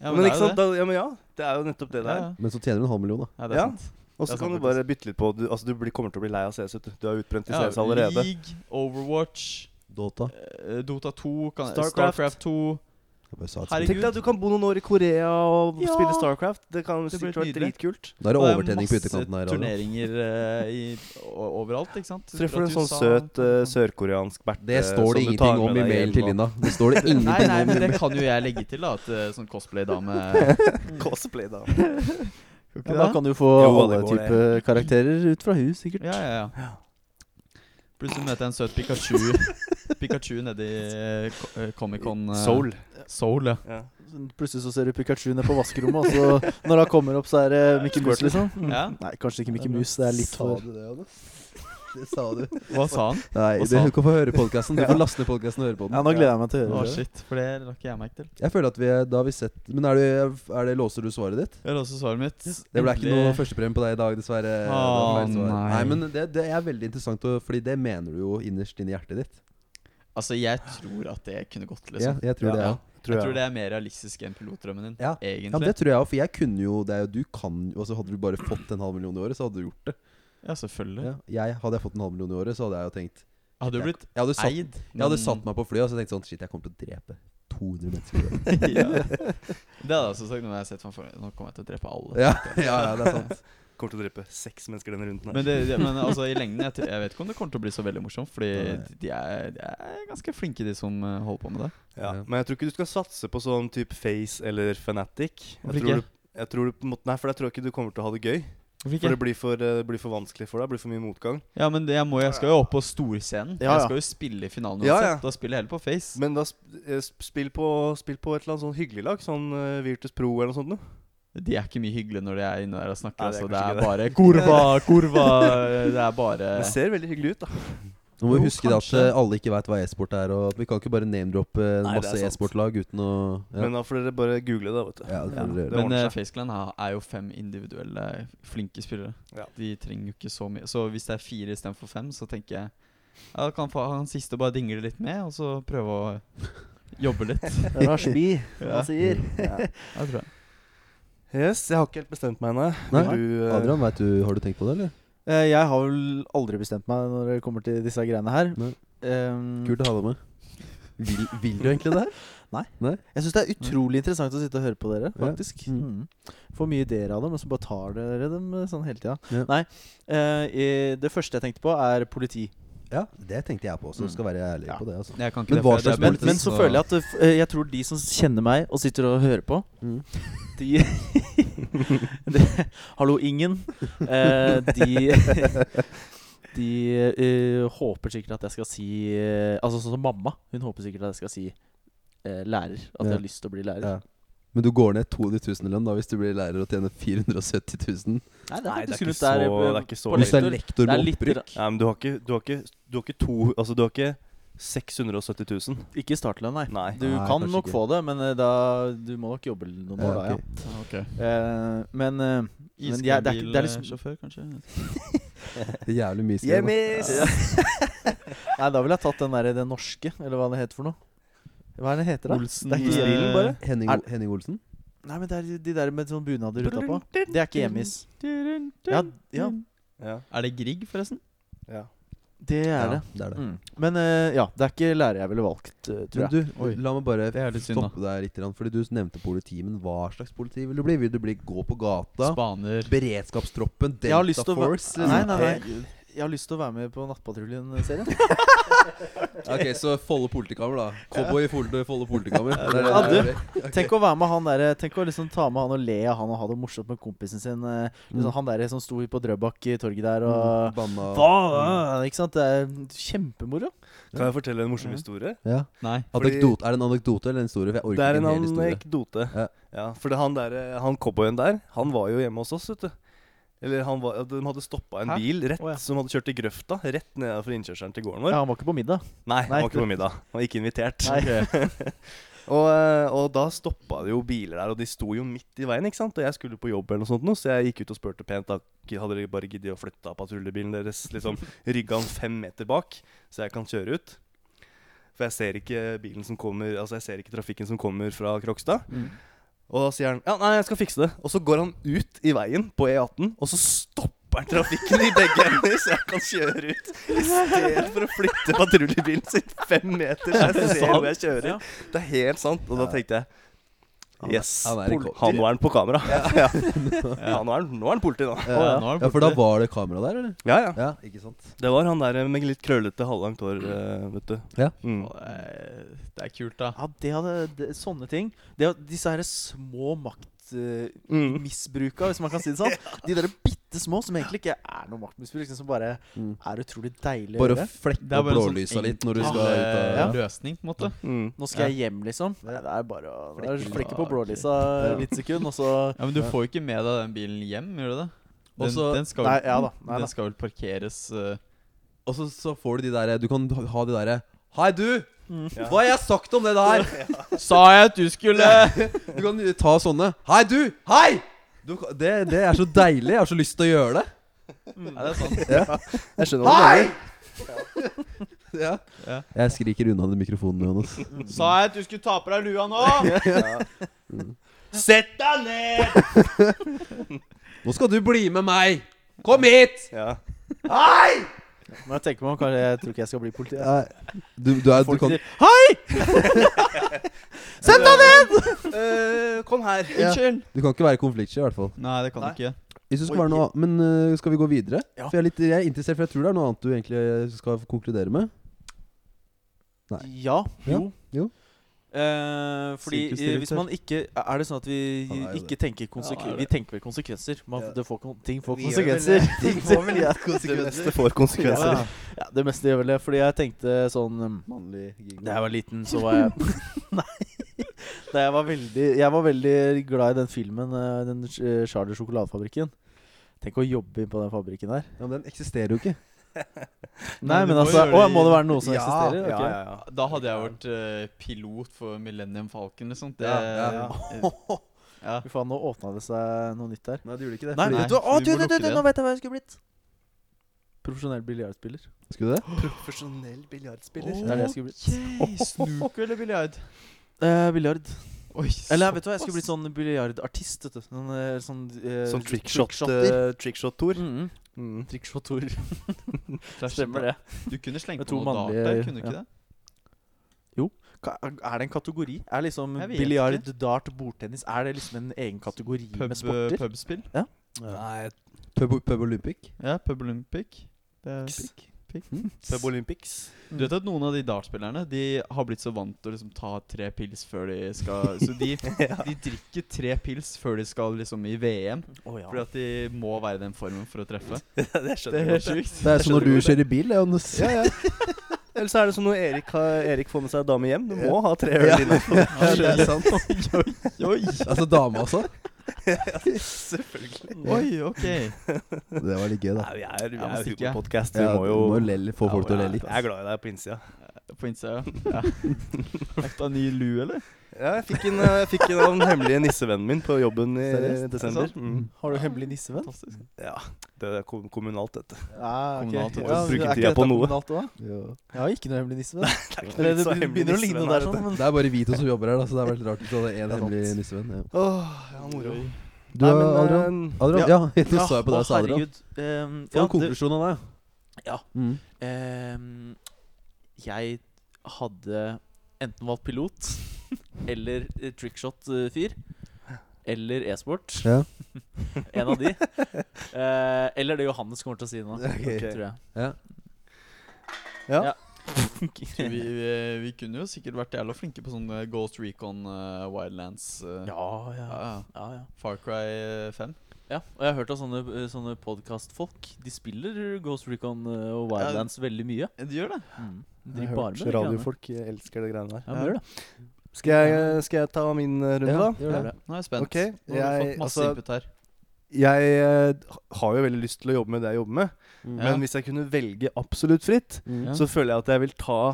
S3: Ja,
S4: men
S3: det er
S4: ikke
S3: jo
S4: sant? Da, ja, men ja, det er jo nettopp det det er.
S3: Ja,
S2: Men så tjener du en halv million, da.
S3: ja. ja, det er
S4: Ja.
S3: sant.
S4: Og så
S3: Det er
S4: kan du
S3: sant,
S4: bare bytte litt på Du, altså, du blir, kommer til å bli lei av CS. vet Du Du er utbrent i CS
S3: Ja,
S4: allerede.
S3: League, Overwatch
S2: Dota.
S3: Eh, Dota 2, kan,
S4: Starcraft.
S3: Starcraft. 2
S2: Jeg bare sa et
S3: Herregud.
S2: sånt.
S4: Tenk deg at du kan bo noen år i Korea og
S3: Ja.
S4: spille Starcraft. Det kan jo
S3: Det blir
S4: sikkert være
S3: nydelig.
S4: dritkult.
S2: Da er det
S3: Og
S2: overtenning på ytterkanten her.
S3: Masse
S2: Harald.
S3: turneringer eh, i, o- overalt, ikke sant?
S4: Treffer du en
S3: Fra
S4: sånn
S3: USA.
S4: søt eh, sørkoreansk berte
S2: Det står det
S4: som du tar
S2: ingenting om
S4: med
S2: i
S4: deg
S2: mail
S4: hjem
S2: til
S4: nå.
S2: Linda. Det står det
S3: Nei,
S2: ingenting
S3: nei,
S2: om i
S3: men
S2: mail.
S3: det kan jo jeg legge til, da. At eh, sånn cosplay-dame
S4: Cosplay, da.
S1: Ja, da kan du få
S4: Jo, det
S1: alle
S4: går, det.
S1: typer karakterer ut fra hus, sikkert.
S3: Ja, ja, ja. Plutselig møter jeg en søt Pikachu Pikachu nedi eh, ko- eh, Comic-Con. eh,
S4: Soul.
S3: Soul, ja.
S4: Ja.
S1: Sånn, Plutselig så ser du Pikachu ned på vaskerommet, og så når han kommer opp, så er det Mickey Mouse, liksom. Mm.
S3: Ja.
S1: Nei, kanskje ikke Mickey Mouse. Det er litt for
S2: du det, Jonas? Det sa du.
S3: Hva sa han?
S2: Nei,
S3: Hva
S2: du
S3: sa han?
S2: kan få høre podkasten. Du får laste ned podkasten og høre på den.
S1: Ja, nå gleder jeg meg til
S3: Å,
S1: å høre det.
S3: shit. For det rakk jeg merke til.
S2: Jeg føler at vi Da har vi sett Men er det, er det låser du svaret ditt?
S3: Jeg har også svaret mitt.
S2: Det ble ikke noe
S3: Endelig-
S2: førstepremie på deg i dag, dessverre. Det var
S3: Å,
S2: feil svar.
S3: nei.
S2: nei, men det, det er veldig interessant, å- Fordi det mener du jo innerst inni hjertet ditt.
S3: Altså, jeg tror at det kunne gått,
S2: Ja,
S3: liksom.
S2: jeg tror
S4: Ja,
S2: det,
S3: ja.
S2: ja.
S4: Tror
S3: jeg
S4: jeg.
S3: tror det er mer realistisk enn pilotdrømmen din,
S2: Ja. Ja, men
S3: egentlig.
S2: det tror jeg òg, for jeg kunne jo det. er jo- Du kan jo altså Hadde du bare fått en halv million i året, så hadde du gjort det.
S3: Ja, selvfølgelig.
S2: Ja. Jeg Hadde jeg fått en halv million i året, så hadde jeg jo tenkt
S3: Hadde du blitt
S2: Jeg hadde satt,
S3: eid?
S2: jeg hadde
S3: men-
S2: satt meg på flyet og så tenkt sånn Shit, jeg kommer til å drepe 200 mennesker. i år."
S3: ja. Det hadde jeg også sagt. Nå har jeg sett meg for Nå kommer jeg til å drepe alle.
S2: Ja, ja, ja, det er sant.
S4: Kommer til å drepe seks mennesker denne runden her.
S3: Men, det, det, men altså, i lengden jeg, t- jeg vet ikke om det kommer til å bli så veldig morsomt, Fordi de er, de er ganske flinke, de som eh, holder på med det.
S4: ja.
S2: Ja.
S4: Men jeg tror ikke du skal satse på sånn type Face eller Fanatic.
S3: Hvorfor
S4: Jeg tror
S3: ikke?
S4: du, jeg tror du på en måte, nei, for jeg tror ikke du kommer til å ha det gøy. For det blir for, eh, det blir for vanskelig for deg. Det blir for mye motgang.
S3: Ja, men det, jeg, må, jeg skal jo opp på storscenen.
S1: Ja,
S3: Jeg
S1: ja.
S3: skal jo spille i finalen
S4: Ja,
S3: uansett.
S4: ja.
S3: Da spiller jeg heller på Face.
S4: Men da sp- eh, sp- spill på, spill på et eller annet sånn hyggelig lag. Sånn eh, Virtus Pro eller noe sånt. noe.
S3: De er ikke mye hyggelige når de er inne der og snakker.
S4: Nei, det er
S3: altså, det
S4: kanskje
S3: er bare kurva, kurva Det er bare
S4: Det ser veldig hyggelig ut, da.
S2: Nå må vi
S3: Jo,
S2: huske det at
S3: kanskje.
S2: eh, alle ikke veit hva e-sport er, og at vi kan ikke bare name-droppe eh,
S4: Nei, det er
S2: masse
S4: sant.
S2: e-sportlag uten å ja.
S4: Men da får dere bare google det, vet du.
S2: Ja, det får dere gjøre.
S4: det
S3: Men
S4: ordner
S3: uh,
S4: seg.
S3: FaceClan er, er jo fem individuelle flinke spillere.
S4: Ja.
S3: De trenger jo ikke så mye. Så hvis det er fire istedenfor fem, så tenker jeg ja, da kan fa- han siste bare dingle litt med, og så prøve å jobbe litt.
S1: Rashbi, hva sier?
S3: Jeg tror jeg.
S4: Yes, jeg har ikke helt bestemt meg ennå.
S2: Nei,
S4: Vil du, eh,
S2: Adrian, vet du, har du tenkt på det, eller?
S1: Eh, Jeg har vel aldri bestemt meg når det kommer til disse greiene her.
S2: Nei.
S1: Ehm,
S2: Kult å ha deg med. Vil, vil du egentlig det her?
S1: Jeg syns det er utrolig interessant å sitte og høre på dere,
S2: Ja.
S1: faktisk. Mm. Får mye ideer av dem, og så bare tar dere dem eh, sånn hele tida.
S2: Ja.
S1: Nei, eh, i- det første jeg tenkte på, er politi.
S2: Ja, det tenkte jeg på også. Skal være ærlig
S1: Mm. Ja.
S2: på det. altså
S3: Jeg kan ikke
S2: Men
S3: det,
S2: hva
S3: for jeg er
S2: slags
S1: Men,
S2: politi-
S3: diabetes,
S1: men så føler jeg at eh, f- eh, jeg tror de som kjenner meg og sitter og hører på
S2: Mm.
S1: De, de Hallo, ingen. Eh, de de eh, håper sikkert at jeg skal si eh, Altså sånn som mamma. Hun håper sikkert at jeg skal si eh, lærer. At
S2: Ja.
S1: jeg har lyst til å bli lærer.
S2: Ja. Men du går ned 200 000 i lønn da hvis du blir lærer og tjener 470
S1: Nei,
S4: Nei,
S2: 000.
S4: det er
S1: faktisk
S4: ikke
S1: rundt
S4: så,
S1: der, eh,
S4: det er ikke så
S1: på
S2: Hvis du er
S1: lektor.
S2: lektor
S1: Det er
S2: med
S1: litt
S2: opprykk
S1: ra-
S4: Nei, men du har ikke Du har ikke, du har ikke to Altså, du har ikke 670 000.
S1: Ikke startlønn, nei.
S4: Nei.
S1: Du
S2: Nei,
S1: kan
S2: kanskje
S1: nok
S2: ikke.
S1: få det, men eh, da, du må nok jobbe noen år da,
S2: Ja,
S1: ja.
S2: ok.
S3: Ah, ok.
S1: Eh, men eh, Men jeg- det er ikke- det er liksom-
S3: Iskrembilsjåfør, kanskje?
S2: Det er Jævlig mye skrev. da.
S1: Nei, da ville jeg tatt den der, den norske, eller hva det heter for noe. Hva er det den heter, da?
S3: Olsen
S1: Det er ikke
S3: eh,
S1: grillen bare?
S2: Henning,
S1: Er-
S2: Henning Olsen?
S1: Nei, men det er de der med sånn bunader utapå. Det er ikke hjemmis. Ja, ja,
S4: Ja.
S3: Er det Grieg, forresten?
S4: ja.
S1: det er det.
S2: Ja, det er det.
S1: Mm. Men eh, ja, det er ikke lærer jeg ville valgt, eh, tror
S2: Men
S1: jeg.
S2: du,
S3: Oi.
S2: la meg bare
S3: er litt synd, da.
S2: stoppe deg litt. grann, Fordi du nevnte politi, men hva slags politi vil du bli? Vil du bli gå på gata?
S3: Spaner.
S2: Beredskapstroppen?
S1: Jeg har
S2: Delta
S1: lyst til å va-
S2: Force?
S1: Nei,
S2: liksom?
S1: nei, nei. Jeg har lyst til å være med på eh, Nattpatruljen-serien.
S2: Ok, så Follo politikammer, da. Cowboy i Follo Follo politikammer. Det er
S1: Ja,
S2: det
S1: du.
S2: det er.
S1: Tenk å være med han der, tenk å liksom ta med han og le av han og ha det morsomt med kompisen sin. eh, Liksom, han der som sto på Drøbak i torget der og
S2: Banna
S1: Hva? Ikke sant? Det er kjempemoro.
S4: Kan jeg fortelle en morsom historie?
S2: ja.
S3: Nei.
S4: Fordi-
S2: Anekdote- Er det en anekdote eller en historie? For jeg orker
S4: Det er
S2: ikke
S4: en
S2: en hel historie.
S4: anekdote.
S2: Ja.
S4: Ja. for det han der, eh, han cowboyen der, han var jo hjemme hos oss, vet du. Eller han var, ja, De hadde stoppa en
S3: Hæ?
S4: bil rett,
S1: Å, ja.
S4: som hadde kjørt i grøfta, rett nedenfor innkjørselen til gården vår.
S1: Ja, han var ikke på middag.
S4: Nei, han
S1: Nei.
S4: var ikke på middag. Han var ikke invitert.
S1: Nei.
S4: Og, eh, og da stoppa det jo biler der, og de sto jo midt i veien, ikke sant. Og jeg skulle på jobb eller noe sånt, nå, så jeg gikk ut og spurte pent da, hadde dere bare giddet å flytte av patruljebilen deres, liksom rygga han fem meter bak, så jeg kan kjøre ut. For jeg ser ikke bilen som kommer, altså jeg ser ikke trafikken som kommer fra Krokstad. Og da sier han ja, nei, jeg skal fikse det. Og så går han ut i veien på E18, og så stopper stopper trafikken i begge ender, så jeg kan kjøre ut. I stedet for å flytte patruljebilen sin fem meter, så jeg ser hvor jeg kjører.
S1: Ja.
S4: Det er helt sant. Og da tenkte jeg
S2: Han er-
S4: Yes,
S2: han er i
S4: pol-
S2: kort.
S4: han nå er han på kamera. Ja. Ja, nå er han- nå er han politi, nå.
S2: Ja,
S3: ja, nå er det
S2: ja, for da
S3: borte.
S2: var det kamera der, eller?
S4: Ja, ja.
S2: Ja, ikke sant?
S4: Det var han der med litt krøllete, halvlangt hår, eh, vet du.
S2: Ja.
S4: Mm.
S3: Å, Det er- det er kult, da.
S1: Ja, det hadde, det, sånne ting. Det, at disse her små
S4: Mm.
S1: maktmisbruka, hvis man kan si det sånn. De der bitte små som egentlig ikke er noe maktmisbruk, liksom, som bare
S2: Mm.
S1: er utrolig deilig å
S2: Bare
S1: gjøre.
S2: flekke
S3: Det er
S2: opp
S3: bare en sånn
S2: blålysa litt når du
S3: enkel,
S2: skal ut av
S3: eh,
S2: ja.
S3: løsning, på en måte.
S4: Mm.
S1: Nå skal jeg hjem, liksom. Nei, det er bare å det er
S2: Flekke-
S1: flekke på blålysa
S2: Ja.
S1: litt sekund, og så
S3: Ja, Men du får jo ikke med deg den bilen hjem, gjør du det? Den,
S2: Også-
S3: den, skal, vel-
S1: Nei, ja da. Nei, da.
S3: den skal vel parkeres eh,
S2: Og så, så får du de derre Du kan ha- ha de derre Hei, du!
S1: Mm.
S2: Hva har jeg sagt om det der?
S3: Sa jeg at du skulle
S2: Du kan ta sånne. Hei, du! Hei! Du, kan- det, det er så deilig. Jeg har så lyst til å gjøre det.
S3: Nei, det er sant.
S4: Jeg skjønner hva du mener.
S2: Ja.
S3: Ja.
S2: Jeg skriker unna den mikrofonen, Johannes.
S3: Sa jeg at du skulle ta på deg lua nå?
S4: Sett deg ned!
S2: Nå skal du bli med meg! Kom hit!
S4: Ja.
S2: Hei!
S1: Men jeg tenker meg om, kanskje jeg tror ikke jeg skal bli politi.
S2: Nei, Du, du er, du
S1: Folk
S2: kan,
S1: sier Hei! Sett deg ned!
S4: Eh, kom her.
S2: Ja.
S4: Unnskyld.
S2: du kan ikke være konfliktsky, i hvert fall.
S3: Nei, det kan du ikke.
S2: Hvis du skal
S1: Oi.
S2: være noe annet- Men øh, skal vi gå videre?
S1: Ja.
S2: For jeg er, litt, jeg er interessert, for jeg tror det er noe annet du egentlig eh, skal konkludere med.
S1: Ja.
S2: Ja,
S1: Jo.
S2: jo.
S1: Eh, fordi eh, hvis
S3: Sirkusdirektør.
S1: man ikke Er det sånn at vi
S2: Han er jo
S1: ikke tenker konsekvenser?
S3: Ja,
S1: Vi tenker vel konsekvenser. Man,
S2: Ja.
S1: det får, kon- ting får
S2: Vi gjør vel
S1: konsekvenser. Ting får vel ja.
S4: Det meste får konsekvenser.
S1: Ja, ja, det meste gjør vel det. Fordi jeg tenkte sånn um,
S2: Mannlig gigolo.
S1: Da jeg var liten, så var jeg Nei. Da jeg var veldig Jeg var veldig glad i den filmen, eh, den eh, Charlie sjokoladefabrikken. Tenk å jobbe inn på den fabrikken der.
S2: Ja, men den eksisterer jo ikke.
S1: Nei,
S3: du
S1: men
S3: må
S1: altså
S3: gjøre
S1: Å,
S3: det-
S1: må det være noe som eksisterer?
S4: Ja,
S1: Ok.
S4: ja, ja.
S3: Da hadde jeg vært eh, pilot for Millennium Falcon. Liksom. Det, eh,
S2: Ja, ja.
S3: ja.
S1: Fy faen, nå åpna det seg noe nytt der.
S2: Nei, du gjorde ikke det.
S1: Nei,
S3: Fordi-
S1: vet du hva? Å,
S3: vi
S1: du, du, du,
S3: må lukke
S1: du,
S3: det
S1: nå
S3: igjen.
S1: vet jeg hva jeg skulle blitt. Profesjonell biljardspiller.
S2: Skulle du det?
S4: Profesjonell biljardspiller.
S1: Det er det jeg skulle blitt.
S3: Ok, Snooker eller biljard?
S1: Eh, biljard.
S3: Oi,
S1: Eller vet du hva, jeg
S3: såpass.
S1: skulle blitt sånn biljardartist. vet du. Sånn, eh, sånn, eh,
S4: Som trickshot,
S1: trickshotter.
S4: eh, trickshot-tor.
S1: Mhm.
S4: Mm.
S1: Trickshotter.
S3: Flash-
S1: Stemmer det.
S3: Du kunne slengt
S1: Med
S3: på
S1: to
S3: noe dart
S1: mannlige-
S3: der, kunne du ikke
S1: ja.
S3: det?
S1: Ka- Er det en kategori? Er liksom
S3: Jeg vet
S1: biljard, dart, bordtennis Er det liksom en egen kategori
S3: Pub, eh,
S1: med sporter?
S3: pubspill?
S2: Nei Pub, pub Olympic?
S3: Ja, Pub Olympic. Det er Hmm?
S4: Pub Olympics.
S3: Du vet at noen av de dartspillerne De har blitt så vant til å liksom ta tre pils før de skal Så de, de drikker tre pils før de skal liksom i VM.
S1: Å, ja.
S3: Fordi at de må være i den formen for å treffe.
S4: det
S3: Det
S4: skjønner
S3: er
S4: jeg
S3: helt
S4: godt.
S3: sjukt.
S2: Det er sånn når du kjører bil, det, Johannes.
S4: Ja, ja. Eller så er det som når Erik, har, Erik får med seg dame hjem. Du må ha tre øl innafor.
S2: Ja, det er sant.
S3: Oi,
S2: Altså dame også.
S4: Selvfølgelig.
S3: oi, ok.
S2: Det var litt gøy, da.
S4: Nei, vi er, vi
S3: Ja, men
S4: er
S3: stikker jeg.
S4: humorpodkast. Vi
S2: Ja,
S4: må jo
S2: du må jo le, litt, få
S4: Ja,
S2: folk til å le
S4: jeg-
S2: litt.
S4: Jeg er glad i deg på innsida.
S3: På innsida, ja. Fikk du en ny lue, eller?
S4: Ja, jeg fikk en, eh, jeg fikk en av den hemmelige nissevennen min på jobben i
S1: Seriøst?
S4: desember.
S3: Er det sant?
S4: Mm.
S1: Har du hemmelig nissevenn?
S3: Fantastisk.
S4: Ja, det er kom- kommunalt, dette.
S1: Ja, Ah, ok.
S3: Kommunalt, vet du.
S1: Ja,
S4: Bruker
S1: er ikke
S4: tida på
S1: dette
S4: noe.
S1: kommunalt også, da?
S2: Ja.
S1: Jeg har ikke noe hemmelig nissevenn.
S4: Det
S1: Eller det begynner- begynner å ligne noe der sånn. Men
S2: Det er bare vi to som jobber her, da, så det er veldig rart hvis du hadde én
S1: Det er
S2: hemmelig nissevenn. Ja.
S4: Åh, ja, moro.
S2: Du,
S4: Nei, men,
S2: Adrian?
S4: eh,
S2: Adrian? Ja, nå så jeg på
S1: å,
S2: deg, sa Adrian.
S1: herregud. Ehm,
S2: Få
S1: ja,
S2: en konklusjon av det.
S1: Ja.
S2: Mm.
S1: det- ehm, jeg hadde enten valgt pilot eller eh, trickshot-fyr. Eller e-sport.
S2: Ja.
S1: En av de. Eh, eller det Johannes kommer til å si nå,
S4: Ok.
S1: tror jeg.
S4: Ja.
S1: Ja.
S3: Vi, vi, vi kunne jo sikkert vært jævla flinke på sånne Ghost Recon eh, Wildlands. eh,
S1: Ja,
S3: ja,
S1: ja.
S3: ja.
S1: ja, ja.
S3: Far Cry eh, 5.
S1: Ja, og jeg har hørt av sånne, sånne podkastfolk. De spiller Ghost Recon eh, og Wildlands veldig mye.
S3: Du Eh, gjør det?
S1: Mm.
S4: Jeg
S1: Driver
S4: har
S1: bare med
S4: hørt
S1: det. greiene.
S4: radiofolk eh, elsker det greiene der.
S1: Ja, men gjør det.
S4: Skal jeg, skal jeg ta min eh, runde,
S2: Ja,
S4: da?
S2: gjør det.
S1: Ja.
S3: Nå er jeg spent.
S4: Ok,
S3: Nå har du
S4: jeg-
S3: fått masse
S4: altså-
S3: input her.
S4: Jeg eh, har jo veldig lyst til å jobbe med det jeg jobber med,
S3: Ja.
S4: men hvis jeg kunne velge absolutt fritt,
S2: Mm.
S1: Ja.
S4: så føler jeg at jeg vil ta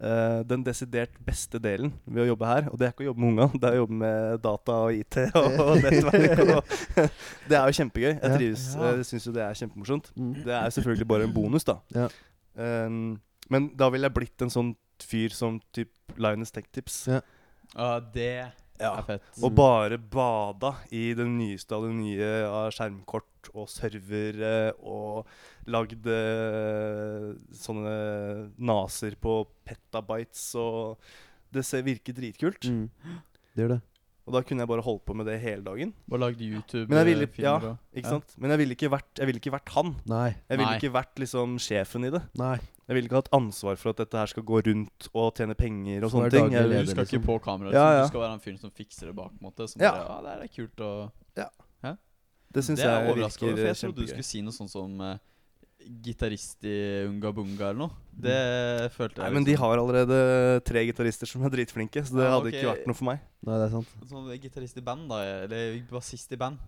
S4: eh, den desidert beste delen ved å jobbe her. Og det er ikke å jobbe med unga, det er å jobbe med data og IT og, nettverk. Og, det er jo kjempegøy. Jeg
S2: Ja.
S4: trives.
S3: Ja.
S4: Jeg syns jo det er kjempemorsomt.
S2: Mm.
S4: Det er selvfølgelig bare en bonus, da.
S2: Ja.
S4: Um, men da ville jeg blitt en sånn fyr som typ Linus Tech Tips.
S2: Ja.
S3: Ja, det er fett.
S4: Og bare bada i det nyeste av det nye av skjermkort kort og servere og lagd eh, sånne naser på petabytes og Det ser, virker dritkult.
S2: Mm. Det gjør det.
S4: Og da kunne jeg bare holdt på med det hele dagen.
S3: Og lagd YouTube.
S4: Men jeg ville,
S3: eh,
S4: ja,
S3: filmer og-
S4: ikke sant? Men jeg ville ikke vært, jeg ville ikke vært han.
S2: Nei.
S4: Jeg ville
S3: Nei.
S4: ikke vært liksom sjefen i det.
S2: Nei.
S4: Jeg ville ikke hatt ansvar for at dette her skal gå rundt og tjene penger og
S2: Som er
S4: sånne ting.
S2: daglig
S4: Jeg,
S2: leder.
S4: vil-
S3: Du skal
S2: liksom.
S3: ikke på
S4: Ja,
S3: kamera. liksom.
S4: ja.
S3: Du skal være han fyren som fikser det bak. på en måte som
S4: Ja.
S3: bare, ja, det er litt kult og
S4: det syns
S3: Det er
S4: jeg
S3: overraskende.
S4: virker
S3: For jeg trodde du
S4: kjempegøy.
S3: skulle si noe sånn som eh, gitarist i Unga Bunga eller noe. Det følte
S4: Nei,
S3: jeg
S4: men de
S3: liksom-
S4: har allerede tre gitarister som er dritflinke, så det
S3: Ja,
S4: hadde
S3: ok.
S4: ikke vært noe for meg.
S2: Nei, det er sant.
S3: Sånn gitarist i band, da. Eller bassist i band.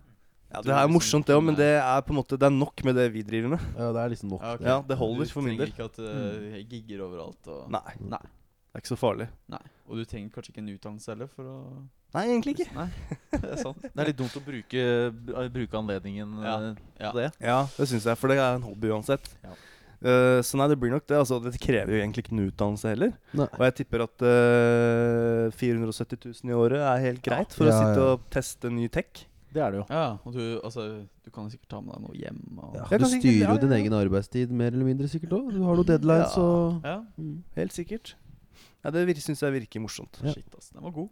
S4: Ja,
S3: Du
S4: Det er
S3: liksom
S4: morsomt, det òg, men
S3: kunne-
S4: det er på en måte Det er nok med det vi driver med.
S2: Ja, det er liksom nok.
S3: ok.
S4: Ja, det holder for min Mm.
S3: Du trenger ikke at eh, jeg gigger overalt. Og,
S4: Nei,
S3: Nei.
S4: det er ikke så farlig.
S3: Nei. og du trenger kanskje ikke en utdannelse heller for å
S4: Nei, egentlig ikke.
S3: Nei, det er sant.
S1: Det er litt dumt å bruke, br- bruke anledningen
S3: Ja,
S1: eh,
S3: ja.
S1: til det.
S4: Ja, det syns jeg, for det er en hobby uansett.
S1: Ja.
S4: Eh, så nei, det blir nok det. Altså, det krever jo egentlig ikke en utdannelse heller.
S2: Nei.
S4: Og jeg tipper at eh, 470 000 i året er helt greit for
S2: Ja,
S4: å sitte
S2: ja.
S4: og teste ny tech.
S1: Det er det jo.
S3: Ja, og du, altså, du kan jo sikkert ta med deg noe hjem. Og,
S2: Ja,
S4: Jeg
S2: du
S4: kan sikkert-
S2: styrer
S4: ja,
S2: jo
S4: ja,
S2: din
S4: ja.
S2: egen arbeidstid mer eller mindre sikkert òg. Du har noen deadlines
S4: Ja.
S2: og
S3: ja.
S2: mm.
S4: Helt sikkert. Ja, det vir- syns jeg virker morsomt.
S2: Ja.
S3: Shit, ass. Den var god.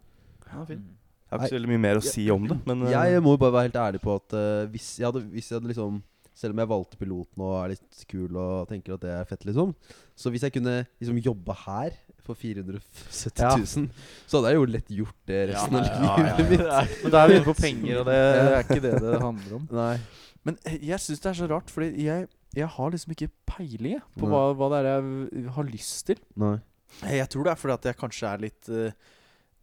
S3: Den var fin.
S4: Jeg har ikke så veldig mye mer å si om det, men eh,
S2: Jeg må jo bare være helt ærlig på at eh, hvis, jeg hadde, hvis jeg hadde liksom Selv om jeg valgte piloten og er litt kul og tenker at det er fett, liksom. Så hvis jeg kunne liksom jobbe her for 470 000, så hadde jeg jo lett gjort det resten av livet mitt.
S1: Men da er vi inne på penger, og det er ikke det det handler om.
S2: Nei.
S1: Men eh, jeg syns det er så rart, fordi jeg, jeg har liksom ikke peiling jeg, på
S2: Nei.
S1: hva, hva det er jeg v- har lyst til.
S2: Nei.
S1: Jeg tror det er fordi at jeg kanskje er litt eh,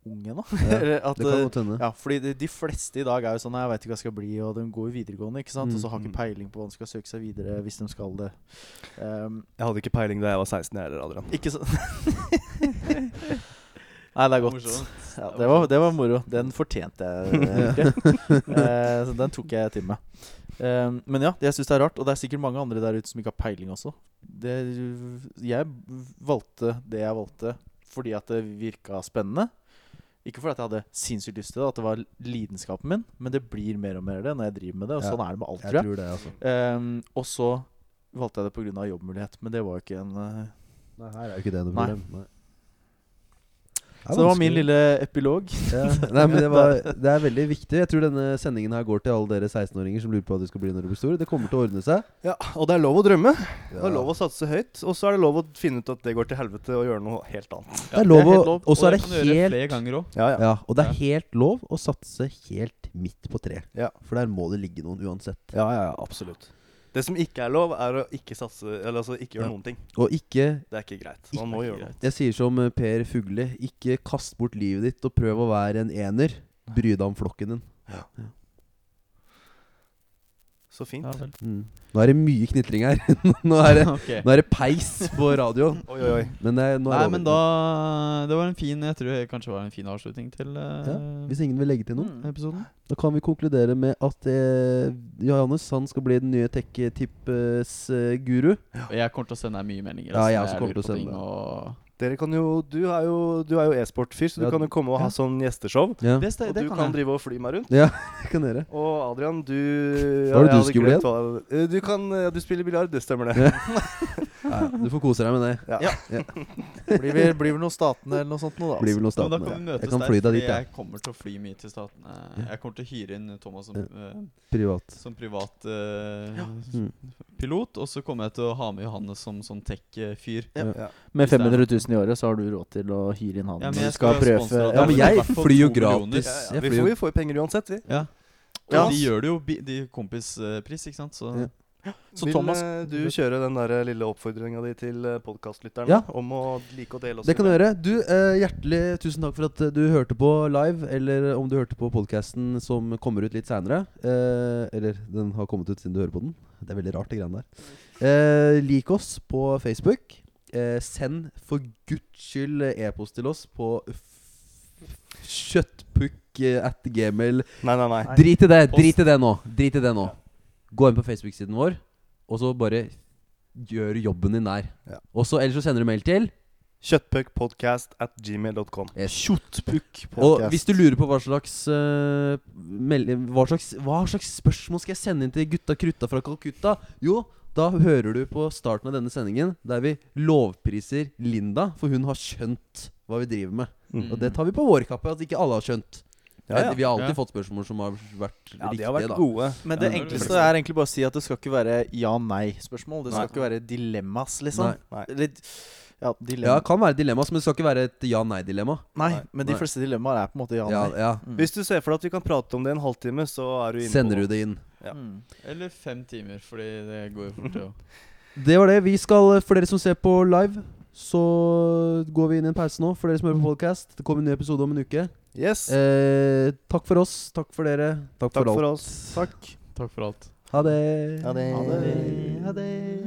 S1: ung ennå.
S2: Ja,
S1: Eller at,
S2: Det kan
S1: eh,
S2: godt hende.
S1: Ja, fordi de, de fleste i dag er jo sånn «Nei, Jeg veit ikke hva jeg skal bli, og de går jo videregående. ikke sant? Og så har
S4: Mm.
S1: ikke peiling på hva de skal søke seg videre hvis de skal det. Um,
S4: jeg hadde ikke peiling da jeg var 16 jeg heller, Adrian.
S1: ikke sånn Nei, det er godt.
S3: Morsomt.
S1: Ja, det, var, det var moro. Den fortjente jeg. egentlig. Eh, så den tok jeg til meg. Eh, men ja, jeg syns det er rart, og det er sikkert mange andre der ute som ikke har peiling også. Det, jeg valgte det jeg valgte fordi at det virka spennende. Ikke fordi at jeg hadde sinnssykt lyst til det, at det var lidenskapen min, men det blir mer og mer det når jeg driver med det, og
S2: Ja,
S1: sånn er det med alt, tror
S2: Jeg
S1: jeg.
S2: tror det, altså.
S1: Eh, og så valgte jeg det pga. jobbmulighet, men det var jo ikke en eh,
S2: Nei, her er jo ikke det noe
S1: Nei.
S2: problem. Nei. er
S1: Så det var min
S2: vanskelig.
S1: lille epilog.
S2: Ja. Nei, men det, var, det er veldig viktig. Jeg tror denne sendingen her går til alle dere 16-åringer som lurer på hva du skal bli når du blir stor. Det kommer til å ordne seg.
S4: Ja, Og det er lov å drømme. Det
S2: Ja.
S4: er lov å satse høyt. Og så er det lov å finne ut at det går til helvete, og gjøre noe helt annet.
S2: Det er lov å
S1: helt lov.
S2: Og så er det
S3: kan du gjøre
S2: helt
S3: flere ganger òg.
S4: Ja, ja.
S2: Ja, og det er helt lov å satse helt midt på tre.
S4: Ja.
S2: For der må det ligge noen uansett.
S4: Ja, ja, ja, absolutt. Det som ikke er lov, er å ikke satse Eller altså ikke gjøre
S2: Ja.
S4: noen ting.
S2: Og ikke
S4: Det er ikke greit. Man må gjøre noe.
S2: Jeg sier som eh, Per Fugli, ikke kast bort livet ditt og prøv å være en ener. Bry deg om flokken din.
S4: Så fint.
S3: Ja, vel.
S2: Mm. Nå er det mye knitring her. nå, er det,
S3: Ok.
S2: nå er det peis på radioen.
S4: Oi, oi, oi.
S2: Men det, er- nå er
S3: Nei,
S2: det
S3: men
S2: over.
S3: da Det var en fin Jeg tror det kanskje var en fin avslutning til eh, Mm.
S2: Hvis ingen vil legge til noe,
S3: episoden.
S2: da kan vi konkludere med at eh, Johannes han skal bli den nye eh, tech-tips-guru.
S3: Og jeg kommer til å sende deg mye meldinger.
S2: Ja,
S3: altså,
S2: jeg
S3: når
S2: også kommer
S3: lurer
S2: til å
S3: på
S2: sende
S3: ting, og-
S4: Dere kan jo Du er jo, du er jo e-sport-fyr, så du
S2: Ja,
S4: kan jo komme og ha
S2: ja.
S4: sånn gjesteshow.
S2: Ja,
S1: Det, det,
S4: Og du
S1: kan
S4: kan
S1: jeg.
S4: drive og fly meg rundt.
S2: det kan dere.
S4: Og Adrian, du ja,
S2: Hva var
S4: jeg
S2: det du
S4: hadde
S2: skulle bli
S4: glemt hva- Eh, Du kan ja, Du spiller biljard, det stemmer det.
S2: Ja, du får kose deg med det.
S1: Blir vel, blir vel noe Statene eller noe sånt nå, da.
S2: Blir vel noe
S3: Men altså. da
S2: staten.
S3: kan vi
S2: ja.
S3: møtes
S2: Jeg kan
S3: der,
S2: fly deg
S3: fordi
S2: dit, jeg.
S3: jeg kommer til å fly mye til Statene. Jeg kommer til å hyre inn Thomas som,
S2: Ja.
S3: eh,
S2: Privat.
S3: som privat eh,
S2: Mm.
S3: pilot. Og så kommer jeg til å ha med Johannes som sånn tech-fyr.
S1: Med 500 000 i året så har du råd til å hyre inn han.
S3: Ja, men
S1: når du
S3: jeg
S1: skal
S3: skal være
S1: prøve
S3: sponsor av
S2: Ja,
S3: det
S2: men
S3: er i
S2: jeg
S3: hvert fall
S2: flyr jo
S3: to millioner.
S2: gratis.
S4: Ja, ja.
S2: Jeg
S4: Vi, får,
S2: flyr jo
S4: vi får jo penger uansett, vi.
S3: Ja. Og
S1: Ja.
S3: de gjør det jo bi- de kompispris, ikke sant? Så
S2: Ja.
S1: Så
S4: Vil
S1: Thomas
S4: eh, du kjøre den der eh, lille oppfordringa di til podkastlytterne
S2: Ja.
S4: om å like å dele oss
S2: Det kan du gjøre. Du, eh, hjertelig tusen takk for at eh, du hørte på live, eller om du hørte på podkasten som kommer ut litt seinere. Eh, eller den har kommet ut siden du hører på den. Det er veldig rart, det greiene der. Eh, lik oss på Facebook. Eh, send for guds skyld eh, e-post til oss på f- kjøttpukk eh, at gmail.
S4: Nei, nei, nei.
S2: Drit i det!
S3: Post.
S2: Drit i det nå! Drit i det nå. Gå inn på Facebook-siden vår, og så bare gjør jobben din der.
S4: Ja.
S2: Og så, Ellers så sender du mail til
S4: Kjøttpuckpodcast at gmail.com.
S2: Yes. Og
S4: Kjøttpuckpodcast.
S2: hvis du lurer på hva slags, eh, mel- hva, slags hva slags spørsmål skal jeg sende inn til gutta krutta fra Calcutta? Jo, da hører du på starten av denne sendingen der vi lovpriser Linda, for hun har skjønt hva vi driver med.
S4: Mm.
S2: Og det tar vi på vår kappe, at ikke alle har skjønt. Eh,
S4: Ja, ja.
S2: Vi har alltid
S3: Ja.
S2: fått spørsmål som har vært
S4: ja, de
S2: riktige,
S4: har vært
S2: da.
S4: gode.
S1: Men det
S3: Ja,
S1: enkleste
S3: det er
S1: er egentlig bare å si at det skal ikke være ja-nei-spørsmål. Det skal
S4: Nei.
S1: ikke være dilemmas, liksom.
S2: Nei.
S4: Nei.
S1: Litt, ja,
S2: Ja,
S1: dilemma.
S2: kan være dilemmas, men det skal ikke være et ja-nei-dilemma.
S1: nei,
S4: Nei.
S1: men de
S2: Nei.
S1: fleste dilemmaer er på en måte
S2: Ja,
S1: ja-nei.
S2: ja.
S1: Mm.
S4: Hvis du ser for deg at vi kan prate om det i en halvtime, så er du inne
S2: Sender
S4: på
S2: du det inn.
S4: ja.
S1: Mm.
S3: Eller fem timer, fordi det går fort. det også.
S2: Det var det. Vi skal, eh, For dere som ser på live, så går vi inn i en pause nå. For dere som hører på podcast, det kommer en ny episode om en uke.
S4: Yes.
S2: Eh, takk for oss. Takk for dere. Takk,
S4: Takk
S2: for alt.
S4: for oss.
S3: Takk for alt.
S2: Ha det.
S1: Ha det.
S4: Ha det.
S1: Ha det.